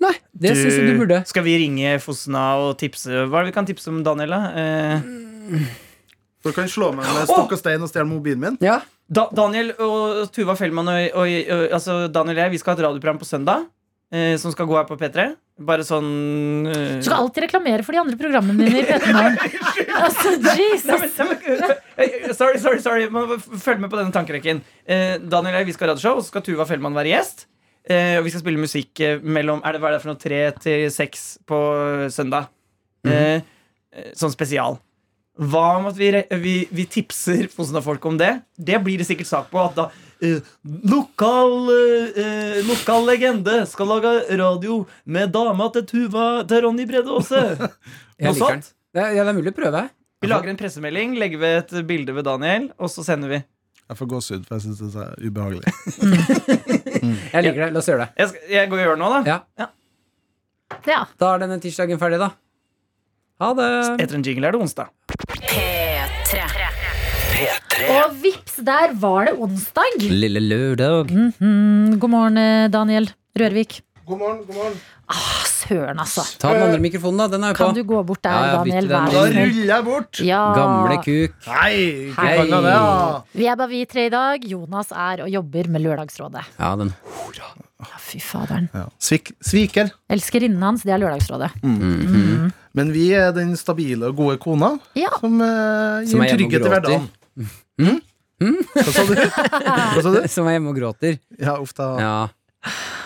D: Nei, det
G: Du-
D: syns jeg du burde.
G: Skal vi ringe Fosna og tipse Hva er det vi kan tipse om Daniel, da? Eh,
E: Du kan slå meg med stokk og stein og stjele mobilen min.
D: Ja.
G: da Daniel og Tuva Fellmann og, og, og altså Daniel og jeg, vi skal ha et radioprogram på søndag. Eh, som skal gå her på P3. Bare sånn eh,
F: Du skal alltid reklamere for de andre programmene dine i P3 Morgen. altså,
G: Nei,
F: Jesus!
G: men- nei, men- eh, Sorry, sorry, sorry. Man må f- Følg med på denne tankerekken. Eh, Daniel og jeg, vi skal ha radioshow, og så skal Tuva Fellmann være gjest. Eh, og vi skal spille musikk eh, mellom er det, hva er det for noe, tre til seks på søndag. Eh, eh, sånn spesial. Hva om at vi, re- vi, vi tipser Fosen-folk om det? Det blir det sikkert sak på. At da eh, lokal, eh, eh, lokal legende skal lage radio med dama til Tuva til Ronny Brede
D: Jeg
G: Aase.
D: liker den.
G: Noe sånt?
J: Det, ja, det er mulig å prøve.
G: Vi lager en pressemelding, legger ved et bilde ved Daniel, og så sender vi.
E: Jeg får gåsehud, for jeg syns det er ubehagelig.
J: Jeg liker det. La oss gjøre det.
G: Jeg, skal, jeg går og gjør det nå, da.
J: Ja.
F: Ja.
J: Da er denne tirsdagen ferdig, da. Ha det.
G: Etter en jingle er det onsdag.
F: Og vips, der var det onsdag!
D: Lille lørdag.
F: Mm. God morgen, eh, Daniel Rørvik.
E: God morgen, god morgen.
F: Ah, Søren, altså.
J: Ta den andre mikrofonen, da. Den er jo på.
F: Kan du gå bort der,
D: Ja, ja,
F: Daniel?
D: bytte den.
F: Vær
E: Da
F: så snill.
E: ruller jeg bort.
F: Ja.
D: Gamle kuk.
E: Nei, ikke
D: Hei.
E: kall meg det. da.
F: Vi er bare vi tre i dag. Jonas er og jobber med Lørdagsrådet.
D: Ja, den.
F: Ja, fy faderen.
E: Ja. Svik, sviker.
F: Elskerinnen hans, det er Lørdagsrådet.
E: Men vi er den stabile og gode kona
F: Ja.
E: som eh, gir
D: Som er Mm. hjemme og
E: trygghet i
D: gråter.
E: hverdagen. Mm. Hva sa du? Hva sa du?
D: Som er hjemme og gråter.
E: Ja, uff da.
D: Ja.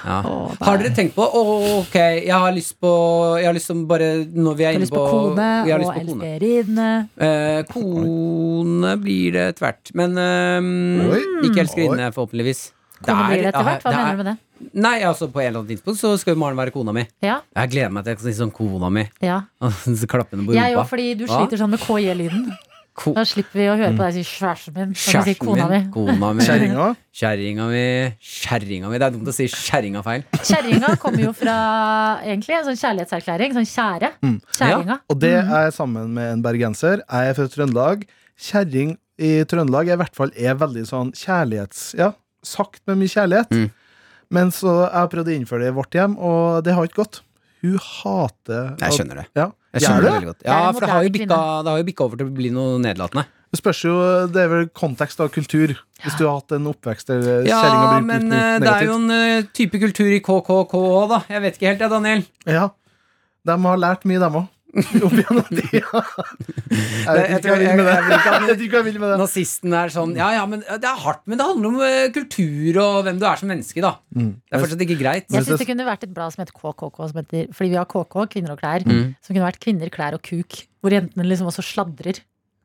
D: ja.
J: Har dere tenkt på «Åh, Ok, jeg har lyst på Jeg har lyst til bare Når
F: Jeg
J: vi er
F: har
J: inne
F: lyst på
J: på
F: kone
J: jeg
F: og
J: har lyst på kone.
F: elskerinne.
J: Eh, kone blir det etter hvert. Men eh,
E: Oi.
J: ikke elskerinne, forhåpentligvis.
F: Kone blir det etter hvert. Hva mener du med det?
J: Nei, altså På en eller annen tidspunkt så skal jo Maren være kona mi.
F: Ja,
D: Jeg gleder meg til jeg kan si sånn kona mi.
F: ja.
D: Og så klapper henne på
F: Jeg òg,
D: rumpa.
F: fordi du
D: Hva?
F: sliter sånn med KJ-lyden.
D: Ko- Mm.
F: Da slipper vi å høre på deg si 'kjæresten min'. Og så si
D: Kjæresten
F: kona mi.
D: min. Kona mi.
E: Kjerringa.
D: Kjerringa mi. Kjerringa mi. Det er dumt å si kjerringa feil.
F: Kjerringa kommer jo fra egentlig en sånn kjærlighetserklæring. Sånn kjære.
D: Mm.
F: Kjerringa.
E: Og det er jeg sammen med en bergenser. Jeg er fra Trøndelag. Kjerring i Trøndelag er i hvert fall er veldig sånn kjærlighets... Ja, sagt med mye kjærlighet.
D: Mm.
E: Men så jeg har prøvd å innføre det i vårt hjem, og det har ikke gått. Hun hater
D: Jeg skjønner det.
E: Ja.
D: Jeg
E: Gjør
D: skjønner
E: du
D: det
E: det?
D: veldig godt.
F: Det
D: Ja,
F: er en
D: for det har jo
F: moderne
D: bikka, det har jo bikka over til å bli noe nedlatende.
E: Det spørs jo, det er vel kontekst og kultur. Hvis du har hatt en oppvekst der kjerringa
J: Ja,
E: blir
J: men
E: utnyttet
J: eh, det er
E: negativt.
J: jo en eh, type kultur i KKK òg, da. Jeg vet ikke helt, jeg, Daniel.
E: Ja, de har lært mye, dem òg. Opp gjennom tida. Jeg vet
J: Jeg
E: ikke hva jeg vil med det.
J: tror- jeg- jeg-
E: Jeg vet ikke hva jeg vil med det.
J: Nazisten er sånn Ja, ja, men det er hardt, men det handler om eh, kultur og hvem du er som menneske, da. Det er fortsatt ikke greit.
F: Jeg syns det kunne vært et blad som het KKK, som heter, fordi vi har KK, kvinner og klær. Som kunne vært kvinner, klær og kuk. Hvor jentene liksom også sladrer.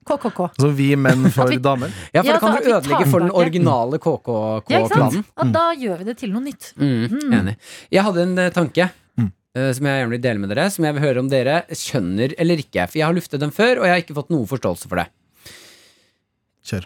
F: KKK.
E: Så vi menn for damer.
J: Ja, for
F: Ja,
J: det kan
F: altså,
J: du
F: at vi tar
J: ødelegge for den
F: tilbake.
J: originale
F: Ja, ikke
J: KKK-planen.
F: sant? Og da gjør vi det til noe nytt.
D: Mm, Enig. Jeg hadde en eh, tanke
E: Mm.
D: eh, som jeg gjerne vil dele med dere, som jeg vil høre om dere skjønner eller ikke. For jeg har luftet den før, og jeg har ikke fått noe forståelse for det.
E: Kjør.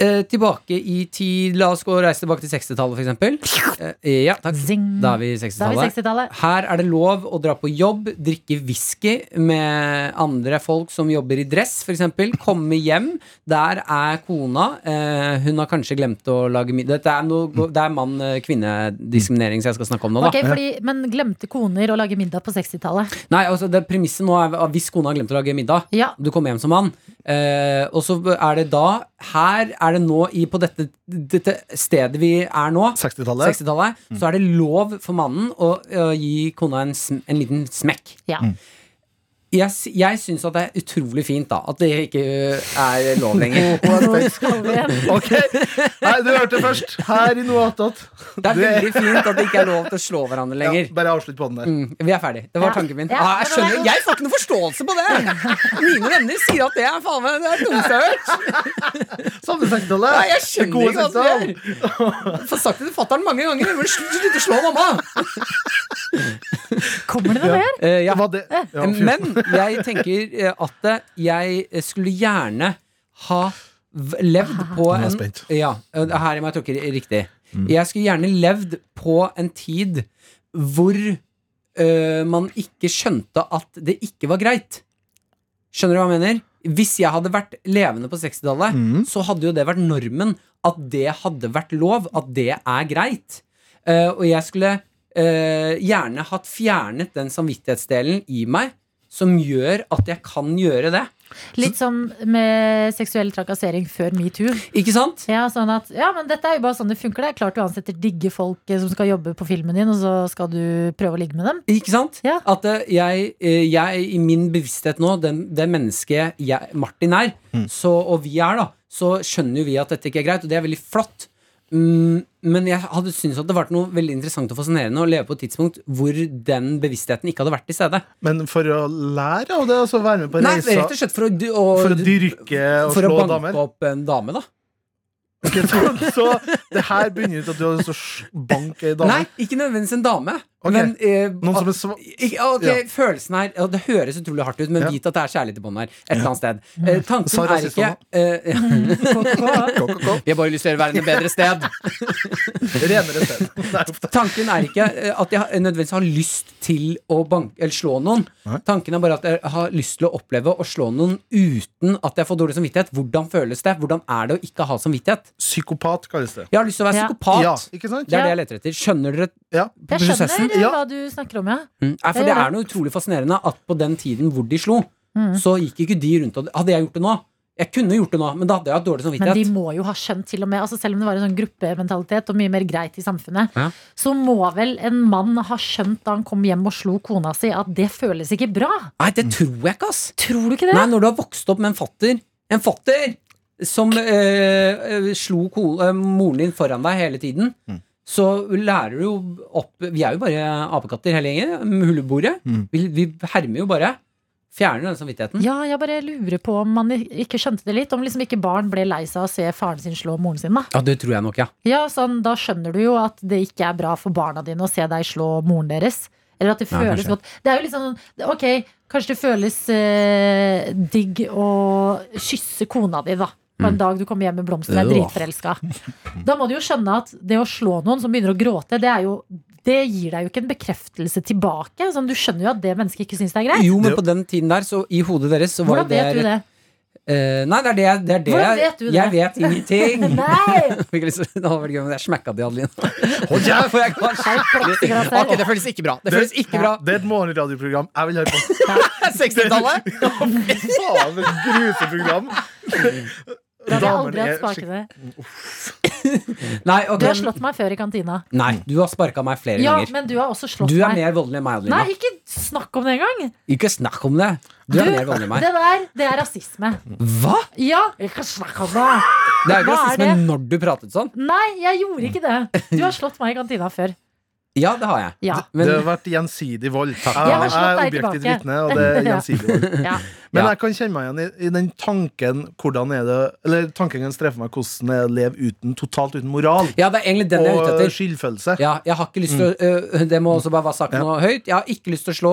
J: Eh, tilbake i tid La oss gå og reise tilbake til 60-tallet, for eksempel. Eh, ja, takk.
F: Zing.
J: Da er vi i
F: Da er vi
J: 60-tallet.
F: 60-tallet.
J: Her er det lov å dra på jobb, drikke whisky med andre folk som jobber i dress, f.eks. Komme hjem. Der er kona. Eh, hun har kanskje glemt å lage middag. Dette er noe- Det er mann-kvinne-diskriminering som jeg skal snakke om nå, da.
F: Mm. Ok, fordi, men glemte koner å lage middag på 60-tallet?
J: Nei, altså det Premisset nå er at hvis kona har glemt å lage middag,
F: Ja.
J: du kommer hjem som mann, eh, og så er det da Her er det nå, i, på dette, dette stedet vi er nå,
E: 60-tallet.
J: 60-tallet,
F: Mm.
J: så er det lov for mannen å, eh, gi kona en, sm en liten smekk.
F: ja.
D: jeg, s- jeg syns at det er utrolig fint da at det ikke ø, er lov lenger.
F: Nå skal vi igjen.
E: Ok, Nei, du hørte det først. Her i noe attåt.
D: Det er veldig fint at det ikke er lov til å slå hverandre
E: Ja,
D: lenger.
E: bare avslutt på den der.
D: Mm, vi er ferdig. Det var
F: Ja.
D: tanken min.
F: Ja,
D: Ah, jeg
F: det var
D: skjønner,
F: det.
D: jeg får ikke noe forståelse på det! Mine venner sier at det er faen meg det er det dummeste jeg har hørt.
E: Samme sekstall.
D: Nei, jeg skjønner
E: Gode
D: ikke hva som
E: sekstall.
D: gjør. Jeg får sagt det til fatter'n mange ganger. Men slutt, slutt å slå mamma!
F: Kommer det noe mer?
D: Eh, ja.
E: Var det- Ja, fy-
D: Men jeg tenker eh, at eh, jeg skulle gjerne ha v- levd på
E: jeg
D: en
E: spent. Mm.
D: Ja, eh, her er meg tråkker riktig. Jeg skulle gjerne levd på en tid hvor eh, man ikke skjønte at det ikke var greit. Skjønner du hva jeg mener? Hvis jeg hadde vært levende på 60-tallet,
E: Mm.
D: så hadde jo det vært normen at det hadde vært lov, at det er greit. Eh, og jeg skulle eh, gjerne hatt fjernet den samvittighetsdelen i meg som gjør at jeg kan gjøre det.
F: Litt som med seksuell trakassering før metoo.
D: Ikke sant?
F: Ja, sånn at, ja, men dette er jo bare sånn det funker. Det er klart du ansetter digge folk eh, som skal jobbe på filmen din, og så skal du prøve å ligge med dem.
D: Ikke sant?
F: Ja.
D: At eh, jeg, eh, jeg i min bevissthet nå, den, det mennesket jeg, Martin er,
E: Mm.
D: så, og vi er, da, så skjønner jo vi at dette ikke er greit, og det er veldig flott. Mm, men jeg hadde syntes at det var noe veldig interessant og fascinerende å leve på et tidspunkt hvor den bevisstheten ikke hadde vært til stede.
E: Men for å lære av det, altså være med på
D: Nei,
E: reisa
D: rett og slett for å, dy- å,
E: for å dyrke og
D: for å
E: slå
D: banke
E: damer.
D: opp en dame, da.
E: Ok, så, så det her begynner ut at du har lyst til å sj- banke ei dame.
D: Nei, ikke nødvendigvis en dame.
E: Ok.
D: Men, eh,
E: Noen som
D: at-
E: er sva-
D: ikke, ah, ok,
E: Ja.
D: Følelsen her og Det høres utrolig hardt ut, men
E: Ja.
D: vit at det er kjærlighet i bånn her. Et eller annet sted. Eh, tanken
E: Sa
D: er
E: rasistene
D: ikke eh, ja. Vi har bare lyst til å gjøre verden et bedre sted.
E: Renere sted. Nei, uff da.
D: Tanken er ikke eh, at jeg har- nødvendigvis har lyst til å banke, eller slå noen.
E: Nei.
D: Tanken er bare at jeg har lyst til å oppleve å slå noen uten at jeg får dårlig samvittighet. Hvordan føles det? Hvordan er det å ikke ha samvittighet?
E: Psykopat kalles det.
D: Jeg har lyst til å være
F: Ja.
D: psykopat.
E: Ja, ikke sant?
D: Det er det jeg leter etter. Skjønner dere
E: Ja.
F: Jeg skjønner eh,
E: Ja.
F: hva du snakker om, ja.
D: Mm. Nei, for
F: Jeg
D: det
F: gjør
D: er noe utrolig fascinerende at på den tiden hvor de slo,
F: Mm.
D: så gikk ikke de rundt og Hadde jeg gjort det nå? Jeg kunne gjort det nå, men da hadde jeg hatt dårlig
F: Men de
D: samvittighet.
F: må jo ha skjønt, til og med. Altså, selv om det var en sånn gruppementalitet og mye mer greit i samfunnet,
D: Ja.
F: så må vel en mann ha skjønt da han kom hjem og slo kona si, at det føles ikke bra.
D: Nei, det tror jeg ikke, ass!
F: Tror du ikke det?
D: Nei, når du har vokst opp med en fatter En fatter som eh, eh, slo ko, eh, moren din foran deg hele tiden, så lærer du jo opp Vi er jo bare apekatter hele gjengen. Huleboere. Vi, vi hermer jo bare. Fjerner den samvittigheten.
F: Ja, jeg bare lurer på om man ikke skjønte det litt. Om liksom ikke barn ble lei seg av å se faren sin slå moren sin, da.
D: Ja, det tror jeg nok, ja.
F: Ja, sånn, da skjønner du jo at det ikke er bra for barna dine å se deg slå moren deres. Eller at det
D: Nei,
F: føles
D: kanskje.
F: godt. Det er jo litt sånn, ok, kanskje det føles eh, digg å kysse kona di, da. På en
D: Mm.
F: dag du kommer hjem med blomster og er
D: Øh.
F: dritforelska. Da må du jo skjønne at det å slå noen som begynner å gråte, det, er jo, det gir deg jo ikke en bekreftelse tilbake. Sånn, du skjønner jo at det mennesket ikke syns det er greit.
D: Jo, men på den tiden der, så i hodet deres, så
F: Hvordan
D: var jo det
F: vet du det?
D: Eh, nei, det er det, jeg- det, er det
F: Hvordan
D: jeg-
F: vet du det?
D: Jeg vet ingenting.
F: Nei!
D: Fikk lyst til- Det hadde vært gøy om jeg smekka de, Adeline.
E: Hold kjeft!
D: For jeg kan- Ok, det føles ikke bra. Det føles ikke bra.
E: Det er et morgenradioprogram jeg vil høre på.
D: 60-tallet!
E: Faen, for et gruseprogram!
F: Da hadde jeg
E: Damene
F: aldri hatt
E: er
F: spakene.
D: Nei, ok.
F: Du har slått meg før i kantina.
D: nei, du har sparka meg flere
F: Ja,
D: ganger.
F: men du har også slått
D: Du er
F: meg.
D: mer voldelig enn meg, Adelina.
F: Nei, ikke snakk om det engang!
D: Ikke snakk om det. Du er
F: Du-
D: mer voldelig enn meg.
F: Det der, det er rasisme.
D: Hva?!
F: Ja, ikke snakk om det!
D: Det er jo ikke
F: Hva er
D: rasisme når du pratet sånn.
F: Nei, jeg gjorde ikke det. Du har slått meg i kantina før.
D: Ja, det har jeg.
F: Ja.
E: Det
D: Men
E: har vært gjensidig vold. Jeg,
F: Jeg har slått
E: er
F: deg
E: objektivt
F: tilbake.
E: vitne, og det er gjensidig vold.
F: ja.
E: Men
D: Ja.
E: jeg kan kjenne meg igjen i, i den tanken Hvordan er det Eller tanken kan streffe meg hvordan det er å leve uten, totalt uten moral.
D: ja, det er egentlig den jeg er ute
E: Og eh,
D: etter.
E: skyldfølelse.
D: Ja, jeg har ikke lyst
E: Mm.
D: til å øh, Det må også bare være sagt nå høyt. Jeg har ikke lyst til å slå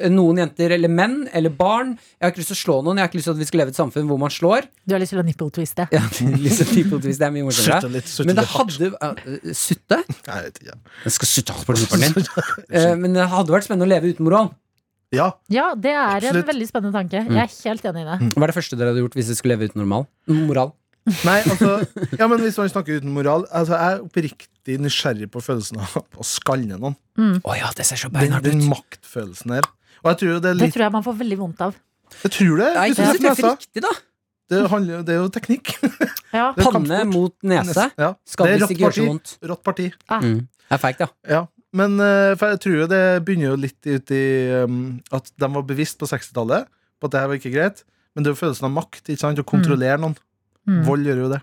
D: øh, noen jenter eller menn eller barn. Jeg har ikke lyst til å slå noen. Jeg har ikke lyst til at vi skal leve i et samfunn hvor man slår.
F: Du har lyst til å nipple-twiste.
D: Jeg har ikke lyst
E: Liksom
D: til å type ut hvis det er mye
E: Sutte
D: morsommere.
E: litt, sutte
D: Men det
E: litt hardt.
D: hadde øh, øh, Sutte?
E: Jeg vet ikke.
D: Jeg skal sutte hardt på rumpen din. Eh, Men det hadde vært spennende å leve uten moral.
E: Ja,
F: Ja, det er
E: Absolutt.
F: en veldig spennende tanke. Jeg er helt enig i det.
E: Mm.
D: Hva er det første dere hadde gjort hvis dere skulle leve uten normal? moral?
E: Nei, altså Ja, men Hvis man snakker uten moral altså, Jeg er oppriktig nysgjerrig på følelsen av å skalle noen.
D: Å ja, det ser så
E: Den,
D: beinhardt ut.
E: den maktfølelsen her. Og jeg tror jo det er
F: Det
E: litt
F: tror jeg man får veldig vondt av.
E: Jeg tror det.
D: Nei,
E: du
D: ikke hvis
E: treffer
D: du treffer
E: nesa.
D: riktig, da.
E: Det, handler, jo- det er jo teknikk.
F: Ja.
E: Det er
D: Panne
E: kampsport.
D: mot nese.
E: Ja.
D: Skal
E: Det er
D: visst
E: rått
D: ikke gjøre så
E: parti.
D: vondt.
E: Rått parti.
D: Mm. Det er feigt, ja.
E: Ja. Men eh, for jeg tror jo det begynner jo litt ut i um, at de var bevisst på 60-tallet på at det her var ikke greit. Men det er jo følelsen av makt. ikke sant? Å kontrollere noen.
F: Mm.
E: Vold gjør jo det.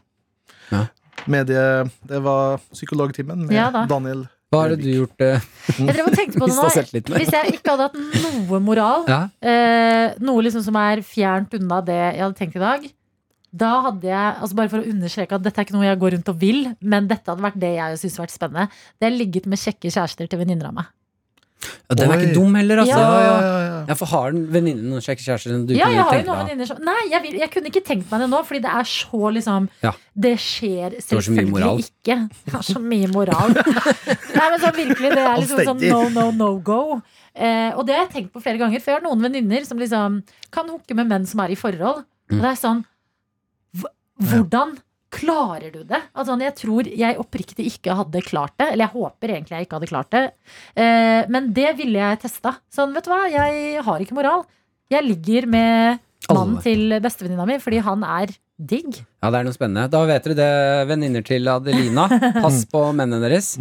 D: Ja.
E: Medie, det var psykologtimen med
F: Ja da.
E: Daniel.
D: Hva har du gjort? eh?
F: Jeg drev og tenkte på det
D: Mista
F: nå.
D: selvtilliten.
F: Hvis jeg ikke hadde hatt noe moral,
D: Ja.
F: eh, noe liksom som er fjernt unna det jeg hadde tenkt i dag, da hadde jeg, altså bare for å understreke at dette er ikke noe jeg går rundt og vil, men dette hadde vært det jeg syntes hadde vært spennende. Det er ligget med kjekke kjærester til venninner av meg.
D: Ja, den er
E: Oi.
D: ikke dum heller, altså.
E: Ja,
F: Ja,
E: ja, ja, ja.
D: Ja, for har den venninnen noen kjekke kjærester som du
F: Ja, jeg har
D: kunne
F: jo
D: tenke
F: noen
D: deg?
F: venninner som Nei, jeg, vil, jeg kunne ikke tenkt meg det nå, fordi det er så liksom
D: Ja.
F: Det skjer
D: var så mye moral.
F: selvfølgelig ikke. Det er så mye moral. nei, men sånn virkelig, det er liksom sånn no, no, no go. Eh, og det har jeg tenkt på flere ganger, for jeg har noen venninner som liksom kan hooke med menn som er i forhold.
D: Mm.
F: Og det er sånn hv- Hvordan klarer du det? Altså, jeg tror jeg oppriktig ikke hadde klart det. Eller jeg håper egentlig jeg ikke hadde klart det. Eh, men det ville jeg testa. Sånn, vet du hva, jeg har ikke moral. Jeg ligger med mannen
D: Alle.
F: til bestevenninna mi fordi han er digg.
D: Ja, det er noe spennende. Da vet dere det, venninner til Adelina. Pass på mennene deres.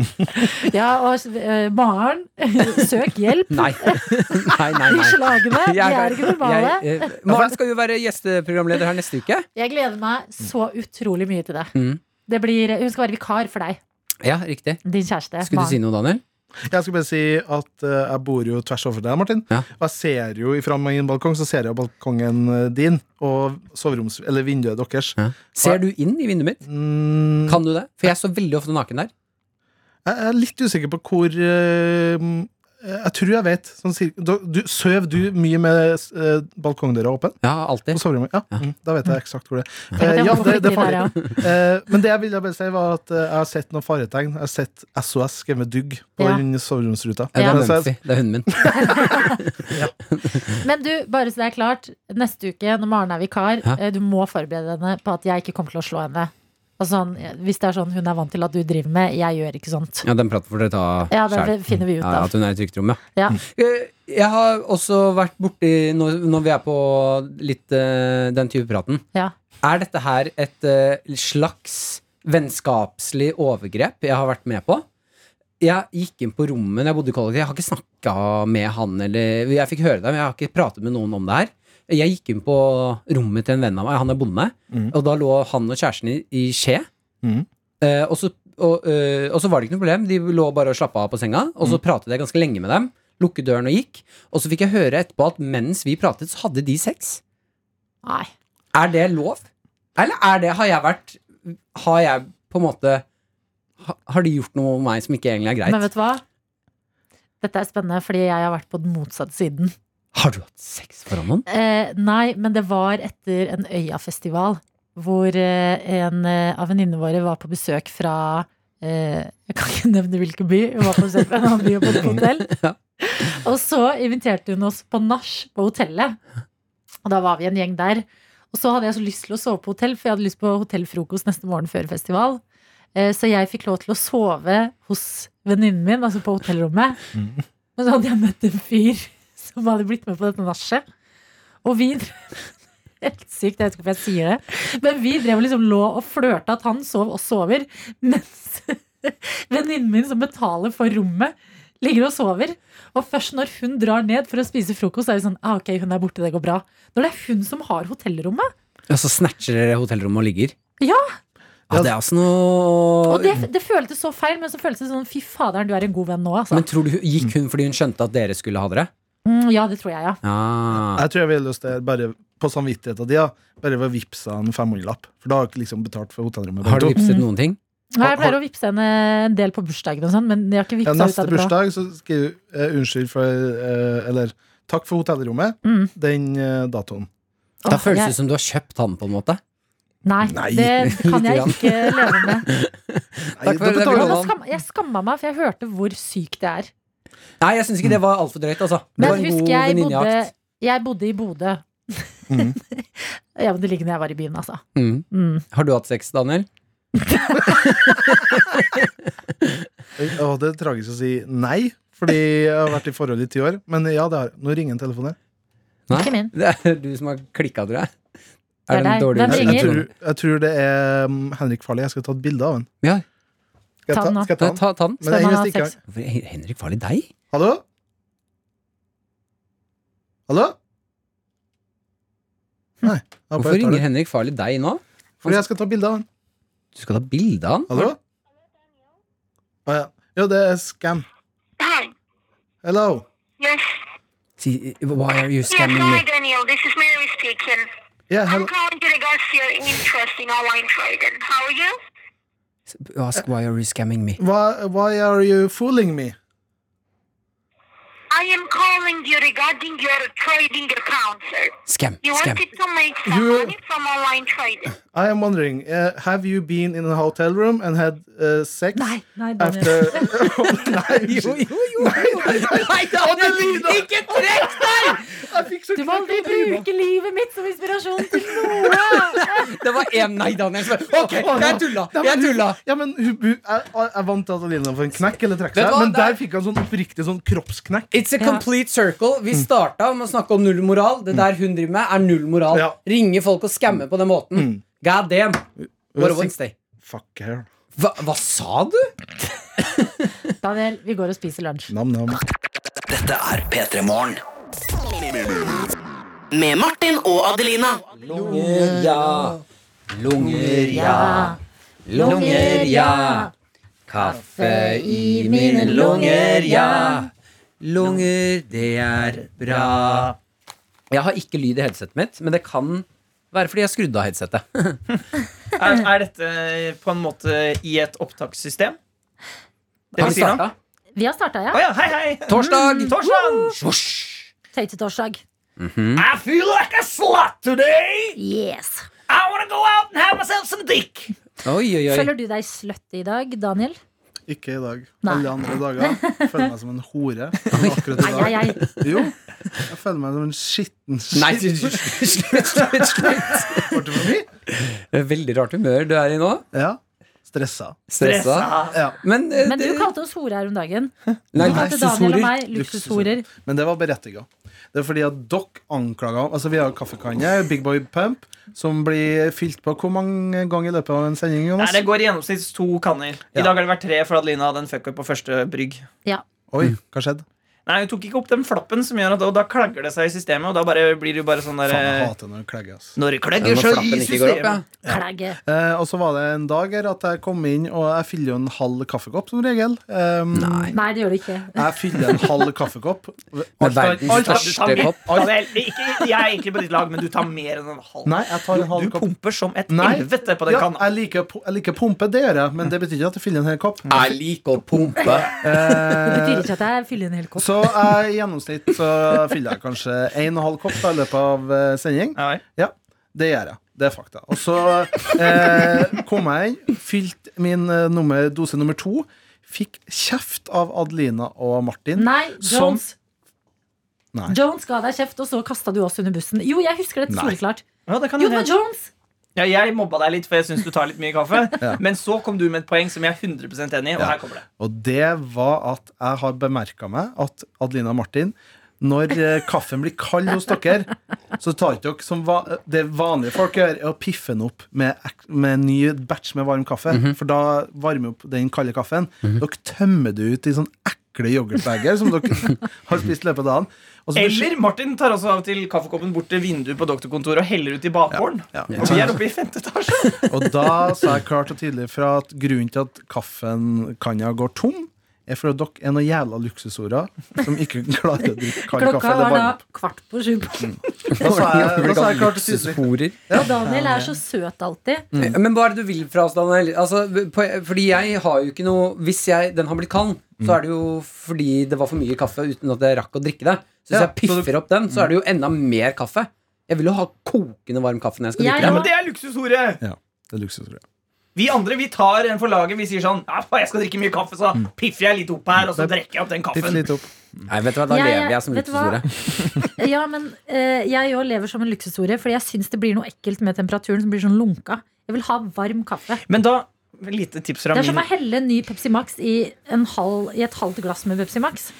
F: Ja, og eh, Maren, søk hjelp.
D: Nei. Nei, nei,
F: De
D: nei.
F: slagene. De er ikke normale.
D: jeg- eh, Maren skal jo være gjesteprogramleder her neste uke.
F: Jeg gleder meg så utrolig mye til det.
D: Mm.
F: det blir, hun skal være vikar for deg.
D: Ja, riktig.
F: Din kjæreste.
D: Skulle du si
F: Maren.
D: noe, Daniel?
E: Jeg skal bare si at eh, jeg bor jo tvers overfor deg, Martin.
D: Ja.
E: Og jeg ser jo fra min balkong så ser jeg balkongen eh, din og soveroms... Eller vinduet deres.
D: Ja. Ser du inn i vinduet mitt?
E: Mm,
D: Kan du det? For jeg er så veldig ofte naken der.
E: jeg er litt usikker på hvor eh, Jeg tror jeg vet. Sånn, cirka- da- du, søv du mye med eh, balkongdøra åpen?
D: Ja, alltid.
E: Og soverommet? Ja, Mm, da vet jeg eksakt hvor det er.
F: Tenk at
E: Eh,
F: jeg
E: ja,
F: bor
E: det, det
F: midt i
E: får
F: der,
E: vi.
F: ja.
E: Eh, men det jeg ville bare si, var at eh, jeg har sett noen faretegn. Jeg har sett SOS skrevet med dugg på
F: Ja.
E: den soveromsruta.
D: Ja, det er
E: Men så-
D: Mumphy. Det er hunden min.
F: Men du, bare så det er klart, neste uke når Maren er vikar,
D: Ja.
F: eh, du må forberede henne på at jeg ikke kommer til å slå henne. Altså, sånn, eh, hvis det er sånn hun er vant til at du driver med, jeg gjør ikke sånt.
D: Ja, den praten får dere ta
F: Ja, det
D: selv.
F: finner vi ut
D: Ja,
F: av.
D: at hun er i trygt rom, ja.
F: Ja.
D: Eh, Jeg har også vært borti, når, når vi er på litt eh, den type praten
F: Ja.
D: Er dette her et eh, slags vennskapslig overgrep jeg har vært med på? Jeg gikk inn på rommet når jeg bodde i kollektiv. Jeg har ikke snakka med han eller Jeg fikk høre det, men jeg har ikke pratet med noen om det her. Jeg gikk inn på rommet til en venn av meg, han er bonde,
E: Mhm.
D: og da lå han og kjæresten i, i skje.
E: Mhm.
D: Eh, og, så, og, eh, og så var det ikke noe problem. De lå bare og slappa av på senga, og så pratet jeg ganske lenge med dem. Lukket døren og gikk. Og så fikk jeg høre etterpå at mens vi pratet, så hadde de sex.
F: Nei.
D: Er det lov? Eller er det, har jeg vært Har jeg på en måte ha- Har de gjort noe med meg som ikke egentlig er greit?
F: Men vet du hva? Dette er spennende, fordi jeg har vært på den motsatte siden.
D: har du hatt sex foran noen?
F: Eh, nei, men det var etter en Øyafestival, hvor eh, en eh, av venninnene våre var på besøk fra eh, Jeg kan ikke nevne hvilken by. Hun var på besøk fra en annen by og bodde på hotell.
D: Ja.
F: Og så inviterte hun oss på nach på hotellet. Og da var vi en gjeng der. Og så hadde jeg så lyst til å sove på hotell, for jeg hadde lyst på hotellfrokost neste morgen før festival. Eh, Så jeg fikk lov til å sove hos venninnen min, altså på hotellrommet. Men så hadde jeg møtt en fyr som hadde blitt med på dette nachet. Og vi Helt sykt, jeg vet ikke hvorfor jeg sier det. Men vi drev og liksom lå og flørta at han sov og sover, mens venninnen min som betaler for rommet, ligger og sover. Og først når hun drar ned for å spise frokost, så er vi sånn ah, Ok, hun er borte, det går bra. Når det er hun som har hotellrommet.
D: Og så snatcher dere hotellrommet og ligger?
F: Ja.
D: ja det er også
F: Og
D: noe
F: det, det føltes så feil, men så føltes det sånn fy faderen, du er en god venn nå, altså.
D: Men tror du Gikk hun fordi hun skjønte at dere skulle ha dere?
F: Mm, ja, det tror jeg, ja.
D: Ja.
E: Jeg tror jeg ville lyst til bare på samvittigheten din, ja, bare ved å vippse en 500-lapp. For da har jeg ikke liksom betalt for hotellrommet.
D: Har du
E: begge to.
D: vipset noen ting?
F: Nei, Jeg pleier å vippse henne en del på bursdagen og sånn, men jeg har ikke
E: ja,
F: vippsa ut
E: neste
F: av det. bra.
E: bursdag så skriver du eh, 'unnskyld for eh, Eller 'takk for hotellrommet',
F: Mm.
E: den eh, datoen.
D: Da
F: Åh,
D: føles
F: jeg-
D: det som du har kjøpt han, på en måte.
F: Nei,
E: Nei,
F: det kan jeg
D: lite
F: ikke leve med.
E: Nei,
D: Takk for
E: da
D: det,
E: betaler
D: det
E: du
D: blir
E: den.
F: Jeg, skam, jeg skamma meg, for jeg hørte hvor sykt det er.
D: Nei, jeg syns ikke det var altfor drøyt, altså. Det
F: Men
D: var en
F: husk,
D: god
F: jeg bodde,
D: venninnejakt.
F: jeg bodde i Bodø.
E: Mhm.
F: ja, men det ligger når jeg var i byen, altså.
D: Mm.
F: Mm.
D: Har du hatt sex, Daniel?
E: Å, det er tragisk å si nei, fordi jeg har vært i forhold i ti år. Men ja, det har jeg. Nå ringer en telefon her.
D: Nei?
F: Ikke min.
D: Det er du som har klikka, tror jeg.
F: Det er
D: en
F: deg.
D: dårlig
F: Hvem
E: Jeg,
D: unnskyldning?
E: jeg,
F: ringer?
E: um, tror, jeg tror det er mm, Henrik Farley. Jeg skal ta et bilde av han.
D: Ja.
E: Skal jeg
F: Ta
E: ta,
F: den nå.
E: skal jeg ta
D: Ta,
E: den?
D: ta, ta den.
E: Men det er
F: Skal man
E: eneste
F: ha
E: ikke
F: sex?
E: har-
D: Hvorfor er Henrik Farley deg?
E: Hallo? Hallo? Nei. han bare
D: Hvorfor
E: tar
D: ringer
E: det.
D: Henrik Farley deg nå?
E: Fordi jeg skal ta bilde av han.
D: Du skal ta bilde av han?
E: Hallo? Å ja. Jo, det er scam.
K: Hi.
E: Hello.
K: Yes.
D: Si, why are you
K: Yes.
D: scamming
K: Hi,
D: me?
K: Daniel. This is Mary speaking.
E: Yeah,
K: I'm
E: hello.
K: calling to regards to your interest in online trading. How are you?
D: Ask why are you scamming me?
E: Why, why are you fooling me?
K: I am calling you regarding your trading account, sir.
D: Scam,
K: You
D: scam.
K: wanted to make some
E: You-
K: money from online trading.
E: I am wondering, uh, have you been in a hotel room and had uh, sex?
F: Nei, nei, Daniel.
E: After Nei,
D: Jo,
E: unnskyld.
D: jo, jo! Nei, Daniel, ikke trekk deg!
E: Jeg fikk så
F: Du må aldri
E: knekk av trynet.
F: bruke livet mitt som inspirasjon til noe!
D: Det var én nei, Daniel. som- Ok, jeg tulla. Jeg tulla.
E: Ja, men hun, hun, jeg, jeg vant til at Adelina får en knekk eller trekke
D: Vet
E: seg,
D: du hva,
E: men
D: der-
E: der fikk han sånn oppriktig sånn kroppsknekk.
D: It's a complete circle. Vi starta med å snakke om null moral. Det der hun driver med, er null moral.
E: Ja. Mm.
D: Ringe folk og skamme på den måten. God damn. What a Wednesday.
E: Fuck her.
D: Hva, hva sa du?
F: Daniel, vi går og spiser lunsj.
E: Nam-nam.
L: Dette er P3 Morgen.
M: Med Martin og Adelina.
D: Lunger, ja. Lunger, ja. Lunger, ja. Kaffe i mine lunger, ja. Lunger, det er bra. Jeg har ikke lyd i headsetet mitt, men det kan være fordi jeg skrudde av headsetet.
G: Er, er dette eh, på en måte i et opptakssystem? Det
D: Har
G: vi
D: vi
G: sier nå?
D: starta?
F: Vi har starta,
G: Å
F: ja.
G: ja, hei, hei!
D: Torsdag!
F: Mm.
G: Torsdag!
D: Svosj!
F: Tøytetorsdag.
G: I feel like a slut today!
F: Yes.
G: I wanna go out and have myself some dick!
D: Oi, oi, oi.
F: Føler du deg sløtt i dag, Daniel?
E: Ikke i dag.
F: Nei.
E: Alle andre dager. Jeg føler meg som en hore. Men akkurat i
F: Ai, ai,
E: dag
F: ai.
E: Jo. Jeg føler meg som en skitten
D: Nei,
E: skitten-
D: slutt, slutt, slutt, slutt.
E: Var det for mye?
D: Veldig rart humør du er i nå.
E: Ja. Stressa.
D: Stressa.
G: ah.
E: Ja.
D: Men, eh,
F: Men du
D: det-
F: kalte oss hore her om dagen.
D: Nei,
F: Du kalte Daniel og
D: luksushorer.
F: meg luksushorer.
E: Men det var berettiga. Det er fordi at dere anklaga Altså, vi har kaffekanne, Big Boy Pump, som blir fylt på hvor mange ganger i løpet av en sending?
G: Nei,
E: Jonas?
G: det går i gjennomsnitt to kanner. I
E: Ja.
G: dag har det vært tre, for Adelina hadde en fuck-up på første brygg.
E: Oi, hva skjedde?
G: Nei, Hun tok ikke opp den flappen, som gjør at og da klagger det seg i systemet. Og da bare, blir det jo bare sånn der
E: Faen, jeg
G: eh,
E: hater når det klegger. ass.
G: Når det
D: Ja,
G: klagger
D: Når
G: seg i
D: flappen ikke går opp, ja.
G: systemet.
F: Klæge.
E: Eh, og så var det en dag her at jeg kom inn, og jeg fyller jo en halv kaffekopp som regel. Um,
F: Nei, det gjør du ikke.
E: Jeg fyller en halv kaffekopp.
D: Med verdens
G: Alt-
D: største
G: alt-
D: kopp.
G: Daniel, ikke, jeg er egentlig på ditt lag, men du tar mer enn en halv.
E: Nei, jeg tar en halv
G: Du
E: kopp.
G: pumper som et
E: Nei.
G: helvete på den
E: Ja,
G: kanna.
E: jeg liker, pu- jeg liker pumpe, det gjør jeg, men det betyr ikke at jeg fyller en hel kopp.
D: Jeg liker å pumpe.
F: Det
E: Eh,
F: betyr ikke at jeg fyller en hel kopp.
E: så jeg, i gjennomsnitt så fyller jeg kanskje en og en halv kopp da, i løpet av eh, sending.
G: Ja, vel.
E: Ja, det gjør jeg. Det er fakta. Og så eh, kom jeg inn, fylte min eh, nummer, dose nummer to. Fikk kjeft av Adelina og Martin.
F: Nei,
E: Som-
F: Jones.
E: Nei.
F: Jones ga deg kjeft, og så kasta du oss under bussen. Jo, jeg husker dette
E: Nei.
F: soleklart.
G: Ja, det sånn. kan
F: Jo,
G: jo
F: det var
G: hende.
F: Jones!
G: ja, jeg mobba deg litt, for jeg syns du tar litt mye kaffe.
E: Ja.
G: Men så kom du med et poeng som jeg er 100 enig i, og
E: Ja.
G: her kommer det.
E: Og det var at jeg har bemerka meg at Adelina og Martin når eh, kaffen blir kald hos dere, så tar ikke dere som va det vanlige folk gjør, er å piffe den opp med, ek- med en ny batch med varm kaffe. For da varmer opp den kalde kaffen. Dere tømmer det ut i sånn ekle yoghurtbager som dere har spist i løpet av dagen. Og så
G: Eller Martin tar også av og til kaffekoppen bort til vinduet på doktorkontoret og heller ut i bakgården.
E: Ja.
G: Og vi er oppe i femte etasje.
E: Og da sa jeg klart og tydelig fra at grunnen til at kaffen kanna går tom, er fordi dere er noen jævla luksusorer som ikke klarer å drikke kald kaffe.
F: Klokka
E: eller
F: var da
E: varm.
F: kvart på sju. på-
E: Da sa jeg, da sa jeg klart og tydelig.
D: Luksushorer.
F: Og Daniel er så søt alltid.
D: Eh, Men hva er det du vil fra oss, Daniel? Altså, på, fordi jeg har jo ikke noe Hvis jeg, den har blitt kald, så er det jo fordi det var for mye kaffe uten at jeg rakk å drikke det. Så Mm. hvis
E: Ja,
D: jeg piffer opp den, så er det jo enda mer kaffe. Jeg vil jo ha kokende varm kaffe når jeg skal
F: Jeg
G: Ja,
D: drikke
G: men
D: det.
G: det er luksushore!
E: Det er luksusorer.
G: Vi andre vi tar en for laget. Vi sier sånn ja, faen, Jeg skal drikke mye kaffe, så
E: Mm.
G: piffer jeg litt opp her, og så drikker jeg opp den
E: Piff
G: kaffen.
E: litt opp.
D: Nei, vet du hva, da
F: Jeg-
D: lever jeg som
F: vet du hva?
D: luksushore.
F: Ja, men eh, jeg òg lever som en luksushore, Fordi jeg syns det blir noe ekkelt med temperaturen som blir sånn lunka. Jeg vil ha varm kaffe.
G: Men da et lite tips fra
F: Det er som
G: min
F: å helle en ny Pepsi Max i, en halv, i et halvt glass med Pepsi Max.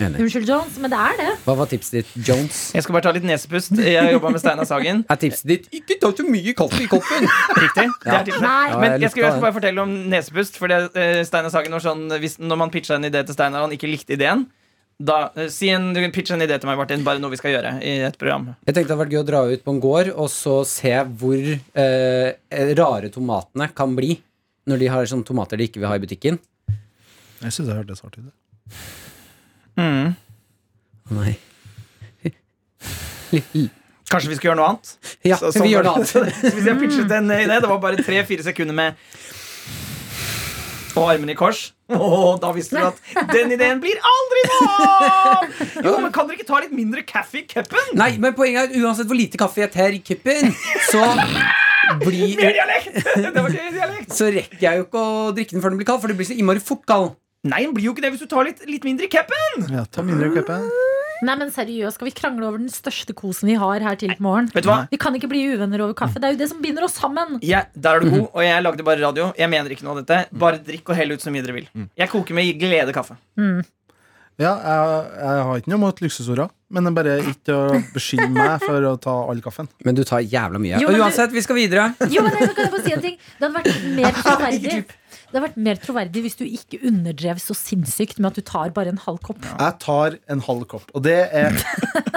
D: Enig.
F: Unnskyld, Jones, men det er det.
D: Hva var tipset ditt, Jones?
G: Jeg skal bare ta litt nesepust. Jeg jobba med Steinar Sagen.
D: Er tipset ditt ikke ta så mye kaffe i koppen?
G: Riktig. Det
D: Ja.
G: er tipset.
F: Nei.
D: Ja,
G: Men
D: jeg
G: jeg skal, jeg
D: likte
G: skal bare fortelle om nesepust. For det, eh, Steinar Sagen var sånn hvis, Når man pitcha en idé til Steinar, og han ikke likte ideen da, eh, si en, du kan pitche en idé til meg, Martin. Bare noe vi skal gjøre i et program.
D: Jeg tenkte det hadde vært gøy å dra ut på en gård og så se hvor eh, rare tomatene kan bli når de har sånne tomater de ikke vil ha i butikken.
N: Jeg syns jeg hørte det svart ut.
D: Mm. Å, Nei.
G: Kanskje vi skal gjøre noe annet?
D: Ja,
G: Så- sånn
D: vi gjør
G: var
D: det
G: det.
D: annet.
G: Så Hvis jeg pitchet en eh, idé, det var bare tre-fire sekunder med og armene i kors. Åh, da visste du at den ideen blir aldri noe av! Jo, men Kan dere ikke ta litt mindre kaffe i cupen?
D: Nei, men poenget er uansett hvor lite kaffe jeg tar i kuppen, så
G: Mer
D: blir
G: dialekt! Det var ikke dialekt.
D: så rekker jeg jo ikke å drikke den før den blir kald, for det blir så innmari fort kald.
G: Nei, den blir jo ikke det hvis du tar litt, litt mindre i cupen!
N: Ja, ta mindre køppe.
F: Nei, men seriøst, skal vi krangle over den største kosen vi har her til på morgen?
G: Vet du hva?
F: Vi kan ikke bli uvenner over kaffe. Det er jo det som binder oss sammen.
G: Jeg- der er du god, og jeg lagde bare radio. Jeg mener ikke noe av dette. Bare drikk og hell ut så mye dere vil. Jeg koker med glede kaffe.
N: Ja, jeg, jeg har ikke noe mot luksusorda, men det er bare ikke å beskylde meg for å ta all kaffen.
D: Men du tar jævla mye.
F: Jo, men du-
D: og uansett, vi skal videre.
F: Jo, men jeg kan jeg få si en ting? Det hadde vært mer troverdig. Det hadde vært mer troverdig hvis du ikke underdrev så sinnssykt med at du tar bare en halv kopp.
N: Jeg tar en halv kopp, og det er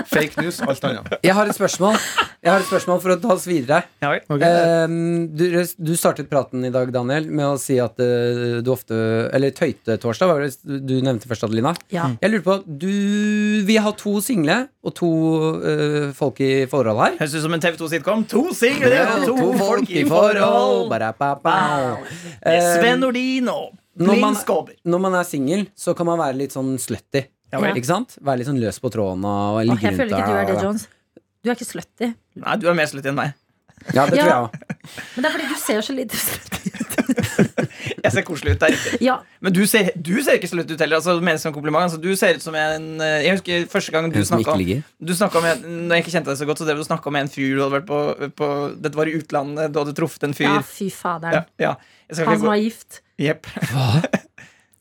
N: fake news, alt annet.
D: Jeg har et spørsmål Jeg har et spørsmål for å ta oss videre.
G: Ja, vel.
N: Eh,
D: Ehm, du, du startet praten i dag, Daniel, med å si at eh, du ofte Eller Tøytetorsdag var det du nevnte først, Adelina.
F: Ja.
D: Jeg lurer på du, Vi har to single og to eh, folk i forhold her.
G: Høres ut som en TV2-sitcom. To single og to, folk i
D: forhold.
G: forhold.
D: Ba-da-ba-ba.
G: Med
D: Ehm,
G: Sven Nordin og
D: når
G: Linn
D: man-
G: Skåber.
D: Når man er singel, så kan man være litt sånn slutty.
G: Ja,
F: vel.
D: Ikke sant? Være litt sånn løs på tråden
F: Åh,
D: og ligge
F: Jeg
D: rundt
F: føler ikke du er det,
D: og-
F: Jones. Du er ikke slutty.
G: Nei, du er mer slutt enn meg.
D: Ja, det
F: Ja.
D: tror jeg òg.
F: Men det er fordi du ser så lite slutty ut.
G: Jeg ser koselig ut. det er riktig.
F: Ja,
G: Men du ser, du ser ikke slutt ut heller. Altså, det menes som en kompliment. Altså, du ser ut som en eh, Jeg husker første gang du
D: Hun som
G: snakka
D: ikke
G: om
D: ligger.
G: Du snakket om en, Når jeg ikke kjente deg så godt, så drev du snakka med en fyr du hadde vært på, på Dette var i utlandet, du hadde truffet en fyr.
F: ja
G: Ja,
F: fy
G: ja,
F: faderen.
G: Jeg
F: Han
G: skal ikke
F: som
G: gå
F: var gift.
G: Jepp.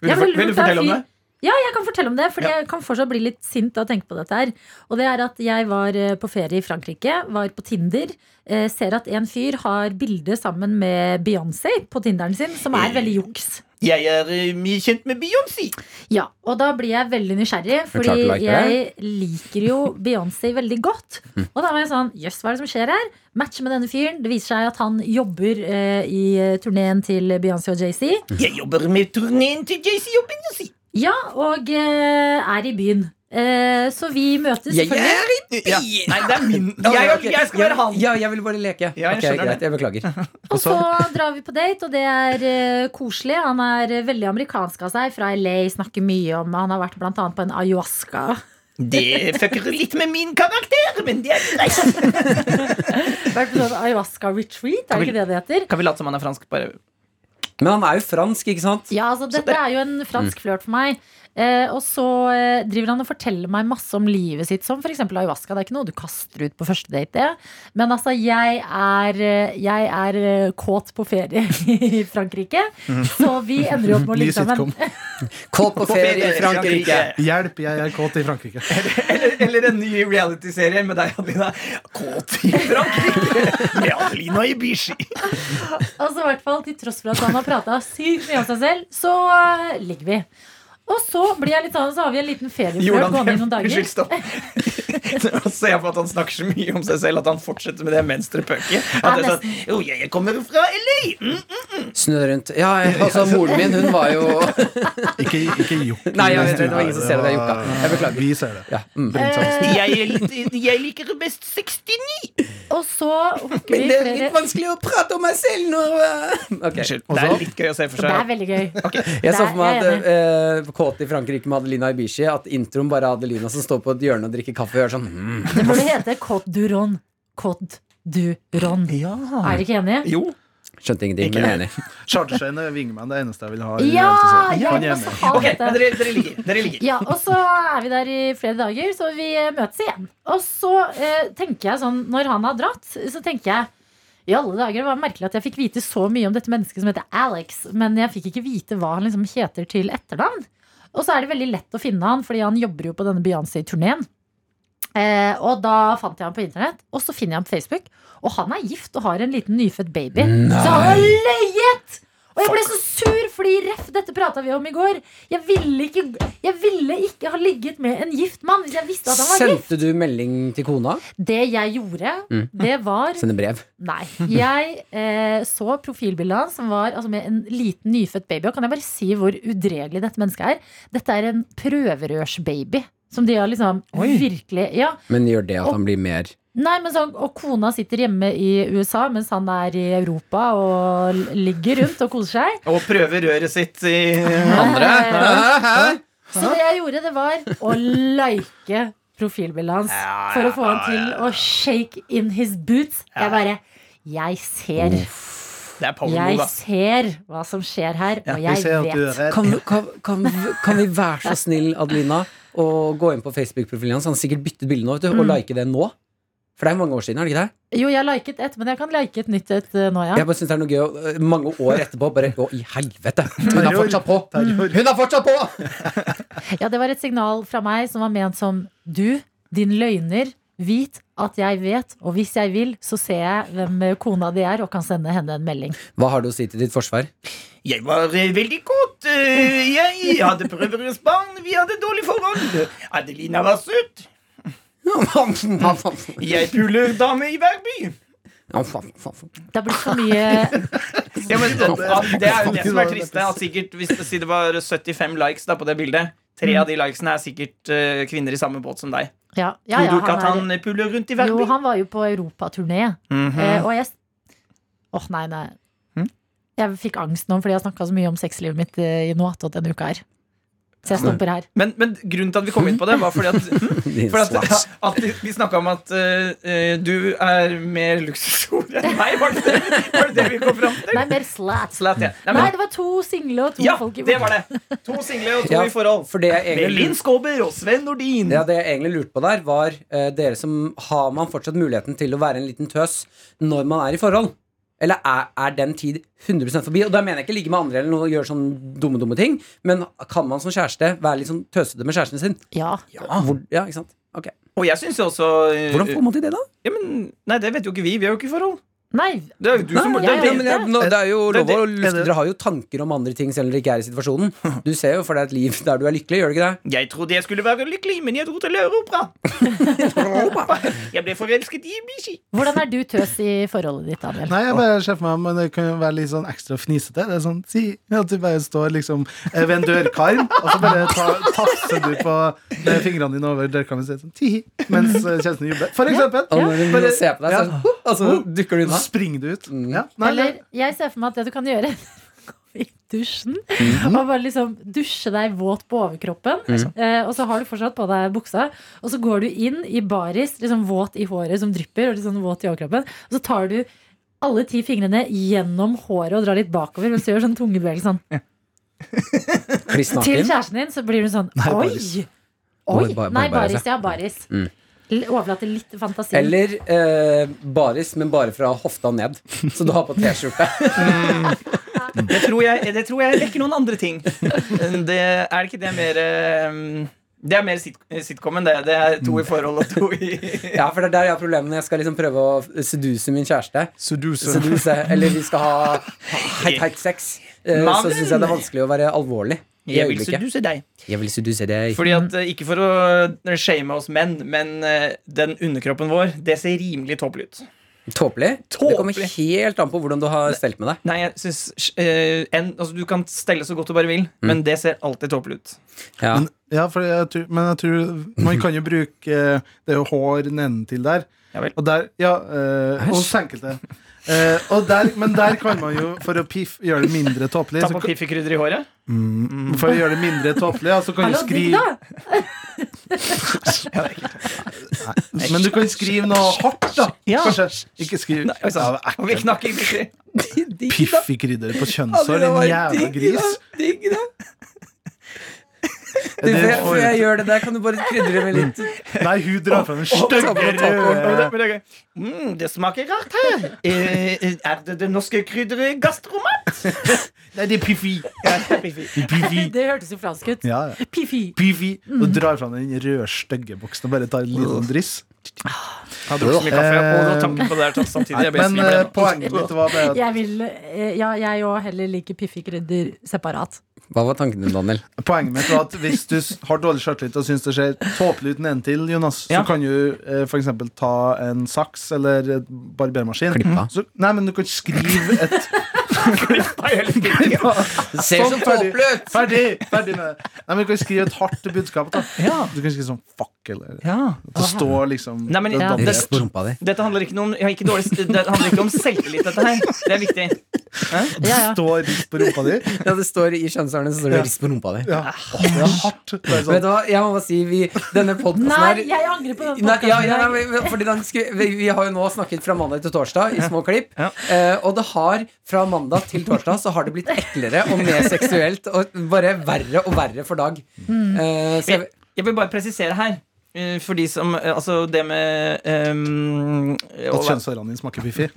G: Vil
F: Ja, men
G: du, for- vil du
F: lurt, det er
G: fortelle om
F: fint.
G: det?
F: Ja, jeg kan fortelle om det, for
G: Ja.
F: jeg kan fortsatt bli litt sint av å tenke på dette her. Og det er at jeg var eh, på ferie i Frankrike, var på Tinder, eh, ser at en fyr har bilde sammen med Beyoncé på Tinderen sin, som er veldig juks.
G: Jeg er eh, mye kjent med Beyoncé.
F: Ja, og da blir jeg veldig nysgjerrig, fordi
D: klart du liker
F: jeg liker jo Beyoncé veldig godt. Og da var jeg sånn, jøss, hva er det som skjer her? Match med denne fyren. Det viser seg at han jobber eh, i turneen til Beyoncé og Jay-Z.
G: Jeg jobber med turneen til JC og Beyoncé.
F: Ja, og eh, er i byen. Eh, så vi møtes
D: Jeg
F: selvfølgelig.
D: er i
G: Ja. Nei, det er min.
D: Ja,
G: Jeg,
D: ok.
G: jeg skal være han.
D: Ja, jeg ville bare leke.
G: Ja, jeg
D: Ok,
G: skjønner det.
D: greit, jeg beklager.
F: Og så drar vi på date, og det er eh, koselig. Han er eh, veldig amerikansk av seg, fra LA, snakker mye om Han har vært blant annet på en ayahuasca.
G: Det fucker litt med min karakter, men det er greit.
F: Vært på sånn ayahuasca retreat, er det ikke det det heter?
G: Kan vi late som han er fransk? Bare
D: Men han er jo fransk, ikke sant?
F: Ja, altså Dette er jo en fransk flørt for meg. Eh, og så eh, driver han og forteller meg masse om livet sitt, som f.eks. ayahuasca. Det er ikke noe du kaster ut på første date. det. Men altså, jeg er, eh, jeg er eh, kåt på ferie i Frankrike, så vi ender jo opp med å
N: Ny
F: ligge sammen.
N: sitcom.
D: Kåt på ferie i Frankrike.
N: Hjelp, jeg er kåt i Frankrike.
G: Eller, eller en ny reality-serie med deg, Adelina. Kåt i Frankrike! Med Adelina Ibishi.
F: Altså i hvert fall Til tross for at han har prata sykt mye om seg selv, så eh, ligger vi. Og så blir jeg litt sånn, så har vi en liten ferieflørt gående i noen dager.
G: Unnskyld, stopp. Nå ser jeg for at han snakker så mye om seg selv at han fortsetter med det mens dere pøker. At det er sånn, jo, jeg kommer fra LA! Mm.
D: Snø rundt. Ja, altså, moren min, hun var jo
N: Ikke, ikke jokk.
D: Nei, jeg vet det, det var ingen som ser det. Det er jokka. Jeg beklager.
N: Vi ser det.
D: Ja, mm.
G: Jeg, er litt- jeg liker best 69!
F: Og så hooker vi flere
D: vanskelig å prate om meg selv når eh, Ok,
G: Unnskyld. Det er litt gøy å se for
F: Det er
G: seg.
F: veldig gøy.
D: Jeg så for meg
F: Der er jeg
D: at eh, Kåt i Frankrike med Adelina Ibishi, at introen bare er Adelina som står på et hjørne og drikker kaffe og gjør sånn mm.
F: Det burde hete Côte du Ron. Côte du Ron. Er dere ikke enige?
G: Jo.
D: Skjønte ingenting, men jeg er enig.
N: Charterstein er wingman, det eneste jeg vil ha. i
F: Ja!
N: reality-serien.
F: Jeg
N: Han
F: vil
N: er
F: også
N: med.
F: ha
G: Ok, men
F: dette.
G: dere, dere ligger. Dere ligger.
F: Ja, og så er vi der i flere dager, så vi eh, møtes igjen. Og så eh, tenker jeg sånn, når han har dratt, så tenker jeg i alle dager, Det var merkelig at jeg fikk vite så mye om dette mennesket som heter Alex, men jeg fikk ikke vite hva han liksom heter til etternavn. Og så er det veldig lett å finne han, fordi han jobber jo på denne Beyoncé-turneen. Eh, og da fant jeg han på internett, og så finner jeg han på Facebook. Og han er gift og har en liten nyfødt baby. Så han har løyet! Og jeg ble så sur, fordi ref, dette prata vi om i går. Jeg ville, ikke, jeg ville ikke ha ligget med en gift mann hvis jeg visste at han var gift.
D: Sendte du melding til kona?
F: Det jeg gjorde,
D: Mm.
F: det var
D: Sende brev.
F: Nei. Jeg eh, så profilbildet hans, som var altså, med en liten nyfødt baby. Og kan jeg bare si hvor udregelig dette mennesket er? Dette er en prøverørsbaby. Som de har liksom virkelig Ja.
D: Men gjør det at han blir mer
F: Nei, men sånn, Og kona sitter hjemme i USA mens han er i Europa og l- ligger rundt og koser seg.
G: Og prøver røret sitt i
F: Andre? Så det jeg gjorde, det var å like profilbildet hans for å få han til å shake in his boots. Jeg bare Jeg ser.
G: Det er Paolo,
F: Jeg
G: da.
F: ser hva som skjer her, og jeg
N: ser at du er
F: vet.
N: redd.
D: Kan, kan, kan, kan vi være så snill, Adelina, å gå inn på Facebook-profilen hans? Han har sikkert byttet bilde nå, vet du, og like det nå. For det er mange år siden, er det ikke det?
F: Jo, jeg liket ett, men jeg kan like et nytt et eh, nå, ja.
D: Jeg bare synes det er noe gøy å- eh, Mange år etterpå bare Å, i helvete! Hun er fortsatt på! Hun er fortsatt på!
F: Ja, Det var et signal fra meg som var ment som du, din løgner, vit at jeg vet, og hvis jeg vil, så ser jeg hvem eh, kona di er, og kan sende henne en melding.
D: Hva har du å si til ditt forsvar?
G: Jeg var eh, veldig godt. eh, Jeg hadde prøverørs barn. Vi hadde dårlig forhold. Adelina var søt. Jeg puler dame i hver by.
F: Det har blitt for mye
G: Ja, men, det, det er jo det som er trist. det er At sikkert, hvis det, si det var 75 likes da, på det bildet Tre av de likesene er sikkort eh, kvinner i samme båt som deg.
F: Ja, ja,
G: Tror
F: ja
G: du ikke at
F: er-
G: han puler rundt i Mhm. hver
F: Jo,
G: by?
F: han var jo på europaturné. eh, og jeg s- Åh, nei, nei.
G: Mhm.
F: Jeg fikk angst nå fordi jeg snakka så mye om sexlivet mitt eh, i noe attåt denne uka her. Så jeg stopper her.
G: Men, men grunnen til at vi kom inn på det, var fordi at, hm?
D: Din
G: fordi at,
D: slags.
G: at vi- vi snakka om at eh, eh, du er mer luksushore enn meg. Var det det, var det det vi kom fram til?
F: Nei, mer slats.
G: Slat, ja. Nei,
F: Nei,
G: men,
F: det var to single og to
G: ja,
F: folk i
G: det var det. To single og to
D: Ja,
G: i forhold.
D: For det jeg
G: Med
D: egentlig
G: Linn Skåber og Sven Nordin.
D: Ja, det jeg egentlig lurte på der, var eh, dere som Har man fortsatt muligheten til å være en liten tøs når man er i forhold? Eller er, er den tid 100 forbi? Og da mener jeg ikke ligge med andre eller noe, gjøre sånn dumme dumme ting, men kan man som kjæreste være litt sånn tøsete med kjæresten sin?
F: Ja.
D: Hvor, ja ikke sant? Ok.
G: Og jeg syns jo også eh,
D: Hvordan får man til det, da?
G: ja, men, Nei, det vet jo ikke vi. Vi er jo ikke i forhold.
F: Nei,
G: Det er jo du som
F: Nei,
G: det,
F: jeg
G: det,
F: vet
D: men jeg, nå, det er jo
G: Det-
D: lov å
G: det-
D: lyst- Dere har jo tanker om andre ting selv om dere ikke er i situasjonen. Du ser jo for deg et liv der du er lykkelig, gjør du ikke det?
G: Jeg trodde jeg skulle være lykkelig, men jeg dro til Europa. jeg ble forelsket i Bishi.
F: Hvordan er du tøs i forholdet ditt, Daniel?
N: Nei, jeg bare ser for meg Men det kan jo være litt sånn ekstra fnisete. Det er sånn, si At du bare står liksom eh, ved en dørkarm, og så bare ta, tafser du på med fingrene dine over dørkarmen og sier sånn tihi, mens eh, kjæresten jubler. For eksempel.
D: Og når du
N: Bare-
D: ser på deg, så, er det sånn, og så dukker du
N: Så
D: unna.
N: springer du ut.
G: Mm.
N: Ja. Nei,
F: Eller jeg ser for meg at det du kan gjøre Gå i dusjen Og bare liksom dusje deg våt på overkroppen eh, Og så har du fortsatt på deg buksa Og så går du inn i baris Liksom våt i håret som drypper Og liksom våt i overkroppen Og så tar du alle ti fingrene gjennom håret Og drar litt bakover Mens du gjør sånn tungebevegelse sånn.
D: Kliss
F: Til
D: naken.
F: kjæresten din så blir du sånn
N: Nei,
F: Oi!
N: baris.
F: Oi!
D: Oi, ba-
F: Nei,
D: baris,
F: baris, ja, baris
D: Mm.
F: L- Overlater litt til fantasien
D: Eller eh, baris, men bare fra hofta ned. Så du har på T-skjorte.
G: Det tror jeg, det tror jeg vekker noen andre ting. Det, er det ikke det mer eh, Det er mer sit sitcom enn det. Det er to i forhold og to i
D: Ja, for det er der jeg har problemet når jeg skal liksom prøve å seduse min kjæreste.
N: Seducer.
D: Seduse, Eller vi skal ha heit, heit sex. Eh,
G: Mannen!
D: så syns jeg det er vanskelig å være alvorlig i
G: Jeg vil
D: øyeblikket.
G: seduse deg.
D: Jeg vil seduse deg.
G: Fordi at, eh, Ikke for å eh, shame oss menn, men eh, den underkroppen vår, det ser rimelig tåpelig ut.
D: Tåpelig? Det kommer
G: Tåpelig.
D: helt an på hvordan du har stelt med deg.
G: Nei, jeg synes, eh, en, altså, Du kan stelle så godt du bare vil, men det ser alltid tåpelig ut.
D: Ja.
N: Men, ja, for jeg tror, men jeg tror man kan jo bruke eh, Det er jo hår nedentil der.
G: Ja vel.
N: Og der Ja, eh, hos enkelte. Eh, og der, men der kan man jo, for å piff, gjøre det mindre tåpelig
G: Ta
N: så
G: på
N: kan-
G: piffikrydder i håret.
N: For å gjøre det mindre tåpelig, ja, så kan du
F: Hallo, digg
N: skrive
F: da!
N: Men du kan skrive noe hardt, da.
G: Ja.
N: Kanskje. Ikke skriv
G: Nei, altså,
N: Ja, det er
G: og vi
N: ekkelt.
G: knakk i piffi.
N: Piff i krydderet på kjønnshår, din jævla gris.
J: Du, for, jeg, for jeg gjør det der, kan du bare krydre med litt
E: Nei, hun drar fram en stygg rød
G: det, mm, det smaker rart her. Eh, er det det norske krydderet gastromat?
E: Nei, det er Piffi.
G: Ja, Piffi.
E: Piffi.
F: Det hørtes jo fransk ut.
E: Ja, ja.
F: Pifi.
E: Piffi. Og
G: Mm.
E: drar fram den røde, stygge boksen og bare tar en liten dryss.
G: Jeg har drukket så mye kaffe. Jeg holder tanken på det her samtidig. Jeg ble
E: Men
G: svimmel
E: eh,
G: ennå.
E: poenget mitt var det at
F: Jeg vil eh, Ja, jeg òg heller liker piffikrydder separat.
D: Hva var tanken din, Daniel?
E: Poenget mitt var at hvis du s- har dårlig sjøltillit og syns det ser tåpelig ut nedentil, Jonas,
G: Ja.
E: så kan du eh, f.eks. ta en saks eller eh, barbermaskin.
D: Klippa.
E: Så, nei, men du kan skrive et
D: Det ser så tåpelig ut!
E: Ferdig! Ferdig med det. Nei, men du kan skrive et hardt budskap. Da.
G: Ja.
E: Du kan skrive sånn fuck eller
G: Ja.
E: At det står liksom
G: Nei, men
E: det er
G: ja,
E: Daniel.
G: det-
D: Rett på rumpa di.
G: Dette handler ikke noe om, jeg har ikke dårlig, det handler ikke om selvtillit, dette her. Det er viktig.
F: Ja, ja.
E: Står rist på rumpa di.
D: Ja, det står i kjønnsårene, så står det 'rist på rumpa di'.
E: Ja. Åh, det er hardt. Det er
J: Vet
E: sånn.
J: du hva, jeg må bare si vi, Denne podcasten her
F: Nei, jeg angrer på den
J: Nei, ja,
F: podkasten.
J: ja, nei, men- fordi den skulle, vi, vi har jo nå snakket fra mandag til torsdag i små klipp.
G: Ja.
J: Eh, og det har fra mandag til torsdag så har det blitt eklere og mer seksuelt og bare verre og verre for dag.
F: Mm.
J: Eh, så jeg,
G: Jeg vil bare presisere her. eh, For de som eh, Altså, det med ehm, å
E: At
G: være-
E: kjønnshårene dine smaker piffi.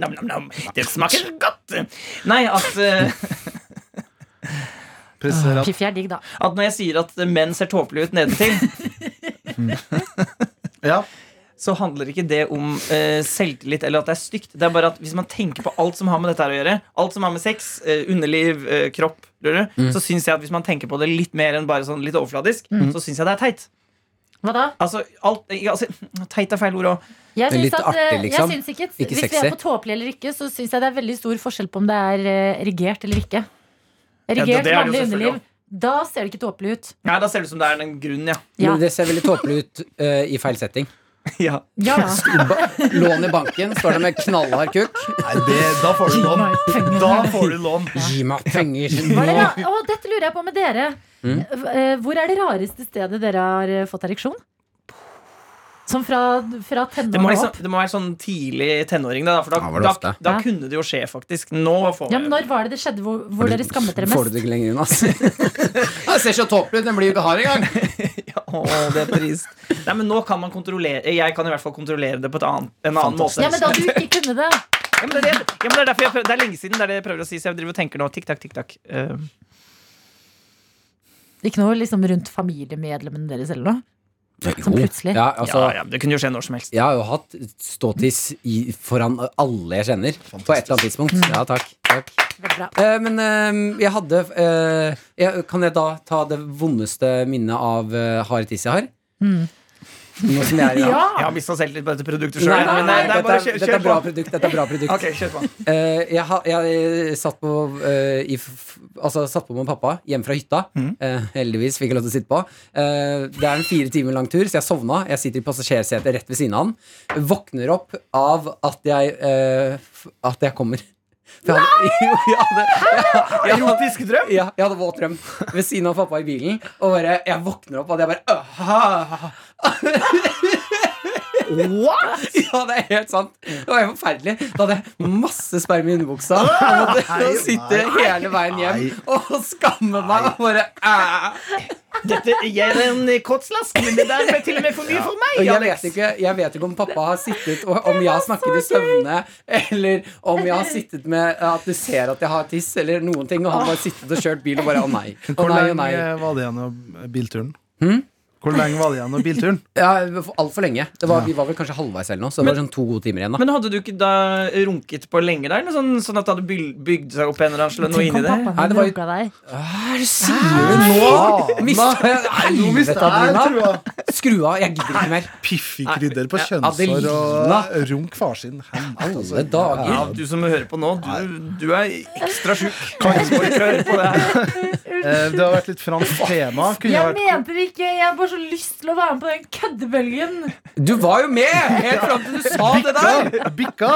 G: Nam, nam, nam. Det smaker godt! Nei, at, eh,
E: Presiserer at
F: Piffi er digg, da.
G: at når jeg sier at menn ser tåpelige ut nedentil,
E: Ja,
G: så handler ikke det om eh, selvtillit eller at det er stygt. Det er bare at hvis man tenker på alt som har med dette her å gjøre, alt som har med sex, eh, underliv, eh, kropp, lurer, så syns jeg at hvis man tenker på det litt mer enn bare sånn litt overfladisk, så syns jeg det er teit.
F: Hva da?
G: Altså, alt, ikke- altså, teit er feil ord òg.
F: Jeg
D: Det er
F: syns,
D: litt
F: at, eh,
D: artig, liksom.
F: jeg syns ikke,
D: Ikke
F: Hvis vi
D: sexy.
F: er på tåpelig eller ikke, så syns jeg det er veldig stor forskjell på om det er eh, erigert eller ikke.
G: det-
F: Erigert,
G: det er det jo
F: vanlig
G: selvfølgelig
F: underliv. Da ser det ikke tåpelig ut.
G: Nei, da ser det ut som det er den grunnen, ja.
F: Ja,
D: Men det ser veldig tåpelig ut eh, i feil setting.
G: ja.
F: ja, ja.
D: Ba- Lån i banken, står det med knallhard kukk.
E: Nei, det, da får du lån. Da får du lån.
D: Gi meg penger
F: Hva er det
D: nå!
F: ra- Å, dette lurer jeg på med dere. Eh, Hvor er det rareste stedet dere har eh, fått ereksjon? Som fra, fra
G: Det
F: tenårene
G: må, liksom,
F: opp?
G: det må være sånn tidlig tenåring, da, for da,
D: Ja, var det
G: da,
D: ofte?
G: da
F: Ja.
G: kunne det jo skje, faktisk. Nå får
F: Ja,
G: jeg
F: men når var det det skjedde hvor, hvor dere skammet dere
D: Får
F: mest?
D: du det ikke lenger unna?
J: altså.
D: Det ser så tåpelig ut, den blir jo ikke hard engang.
G: ja, å, det er trist. Nei, men nå kan man kontrollere Jeg kan i hvert fall kontrollere det på et annet, en annen måte.
F: Ja, men da du ikke kunne det.
G: Ja, men det, er det, ja, men det er derfor jeg prøver, det er lenge siden det er det jeg prøver å si, så jeg driver og tenker nå. Tikk takk, tikk takk. Eh,
F: Ikke noe liksom rundt familiemedlemmene deres eller noe? Som plutselig.
D: Ja, altså,
G: ja, ja, det kunne jo skje når som helst.
D: jeg har jo hatt ståtiss i- foran alle jeg kjenner, på et eller annet tidspunkt. Ja, takk. takk.
F: Veldig Mm. bra.
D: Eh, men eh, jeg hadde eh, jeg, Kan jeg da ta det vondeste minnet av eh, harde tiss jeg har? Nå som jeg er
F: Mm. Ja!
G: Jeg har mista selvtillit på dette
D: Nei,
G: produktet sjøl.
D: nei, nei,
G: det er
D: dette,
G: bare
D: er,
G: kjør,
D: dette er
G: kjør
D: bra
G: på.
D: produkt. Dette er bra produkt.
G: Ok, kjør på.
D: Eh, jeg, ha- jeg satt på eh, i, f- Altså satt på med pappa hjem fra hytta. Eh, heldigvis fikk jeg lov til å sitte på. Eh, det er en fire timer lang tur, så jeg sovna. Jeg sitter i passasjersetet rett ved siden av han. Våkner opp av at jeg eh, f- At jeg kommer. For jeg hadde, jo, jeg hadde, jeg, jeg, hadde,
G: Erotisk drøm?
D: ja, jeg hadde våt drøm ved siden av pappa i bilen. Og bare, jeg våkner opp, og jeg bare «Åh!» Ja, det er helt sant. Det var helt forferdelig. Da hadde jeg masse sperm i underbuksa. Jeg måtte sitte hele veien hjem og skamme meg. Og bare, «Æ!»
G: Dette gir en kortslask, men det der ble til og med for mye for meg.
D: og jeg
G: Alex.
D: vet, ikke, jeg vet ikke om pappa har sittet og om jeg har snakket i søvne, eller om jeg har sittet med at du ser at jeg har tiss, eller noen ting, og han bare sittet og kjørt bil og bare å nei. Å
E: Hvor
D: nei, å
E: lenge
D: nei.
E: var det igjen av bilturen? Hvor lenge var det igjen av bilturen?
D: Ja, Altfor lenge. Det var, vi var vel kanskje halvveis eller noe, så det var sånn to timer igjen. da
G: Men hadde du ikke da runket på lenge der? eller Sånn, sånn at det hadde byl- bygd seg opp en eller annen slå- noe
F: Tenk om
G: inni det?
D: Nei,
F: pappaen
D: det
F: din
D: var jo-
F: runka deg.
D: Hva er det du sier nå? Mista Helvete, Adelina. Skru av. Jeg gidder ikke mer.
E: Piffi krydder på
D: Ja,
E: kjønnshår og
D: Adelina.
E: runk far sin. Helvete, altså.
D: Alle dager.
G: Ja, du som hører på nå, du, du er ekstra sjuk. Kan ikke høre på det her.
E: Eh, Det har vært litt fransk tema. Kunne
F: Jeg
E: vært
F: mente det ikke! Jeg har bare så lyst til å være med på den køddebølgen.
D: Du var jo med helt fram til du sa det der!
E: Bikka! Bikka!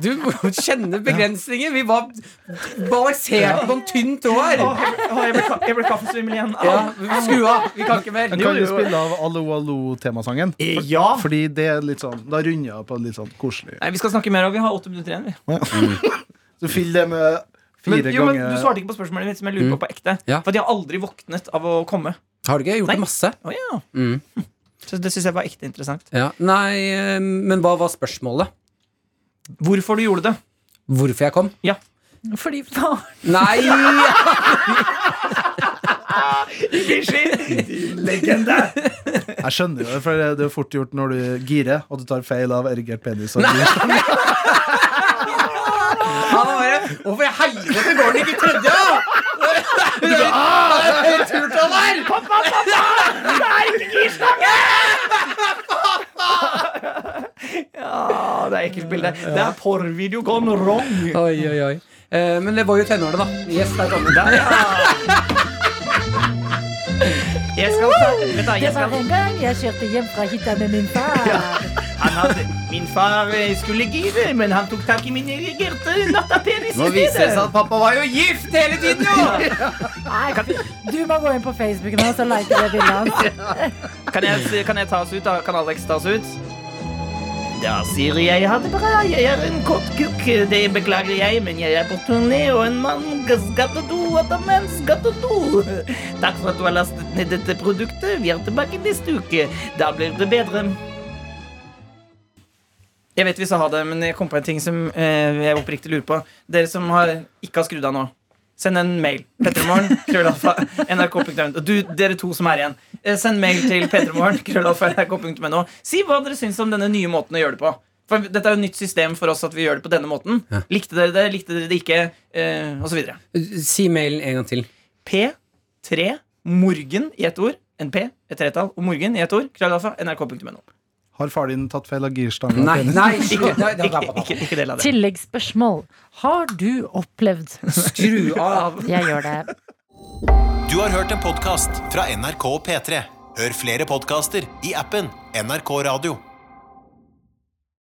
D: Du må kjenne begrensninger. Vi var balansert på en tynn tråd her.
G: Å, jeg ble, ka- jeg ble kaffesvimmel igjen.
D: Ja,
G: Au.
D: skru av. Vi kan ikke mer.
E: Jeg kan jo spille av Allo Allo-temasangen.
G: Eh, Ja.
E: Fordi det er litt sånn Da runder jeg av på litt sånn koselig.
G: Nei, vi skal snakke mer, og vi har åtte minutter igjen. vi.
E: Så fyll det med
G: Men,
E: fire
G: jo, men Du
E: ganger
G: svarte ikke på spørsmålet mitt, som jeg lurer på på ekte.
D: Ja.
G: For de har aldri våknet av å komme.
D: Har du ikke? Jeg har Gjort
G: Nei.
D: det masse.
G: Å ja.
D: Mm.
G: Så det syns jeg var ekte interessant.
D: Ja. Nei, eh, men hva var spørsmålet?
G: Hvorfor du gjorde det?
D: Hvorfor jeg kom?
F: Fordi faren
D: Nei!
G: Legende!
N: Jeg skjønner jo det, for det er jo fort gjort når du girer, og du tar feil av erigert penis. Og gir.
D: Han bare Hvorfor i helvete går den ikke i tredje, da? Det er jo turtall her! Pappa,
G: Ja, Ah, det er ekkelt bilde. Det er porrvideo gone wrong.
D: Oi, oi, oi. Eh, men det var jo tenårene, da. Yes, der kom den.
G: Jeg skal ta, vet du,
F: Det var
G: jeg skal,
F: den gang jeg kjørte hjem fra hytta med min far.
G: han hadde, min far eh, skulle give, men han tok tak i min erigerte nattapenis i
D: Nå viser det seg
G: stedet.
D: at pappa var jo gift hele tiden, jo!
F: Du må gå inn på Facebooken hans og like det bildet hans.
G: Kan jeg, kan jeg tas ut, da? Kan Alex tas ut? Da sier jeg ha det bra. Jeg er en kort kukk. Det beklager jeg, men jeg er på turné, og en mann skal til do, og en mann skal til do. Takk for at du har lastet ned dette produktet. Vi er tilbake neste uke. Da blir det bedre. Jeg vet vi sa ha det, men jeg kom på en ting som eh, jeg oppriktig lurer på. Dere som har, ikke har skrudd av nå, send en mail. Petremorgen, krøllalfa, nrk.no. Og du, dere to som er igjen, eh, send mail til petremorgen, krøllalfa, nrk.no. Si hva dere syns om denne nye måten å gjøre det på. For dette er jo et nytt system for oss at vi gjør det på denne måten. Likte dere det, likte dere det ikke, eh, og så videre.
D: Si mailen en gang til.
G: P3 morgen i ett ord. En P, et tretall, og morgen i ett ord. Krøllalfa, nrk.no.
N: Har far din tatt feil av girstanga?
D: Nei, nei,
G: Ikke,
D: slutt. Nei, da, da,
G: ikke,
D: da, da.
G: ikke, ikke del av det.
F: Tilleggsspørsmål. Har du opplevd
D: Skru av.
F: Jeg gjør det.
O: Du har hørt en podcast fra NRK P3. Hør flere podcaster i appen NRK Radio.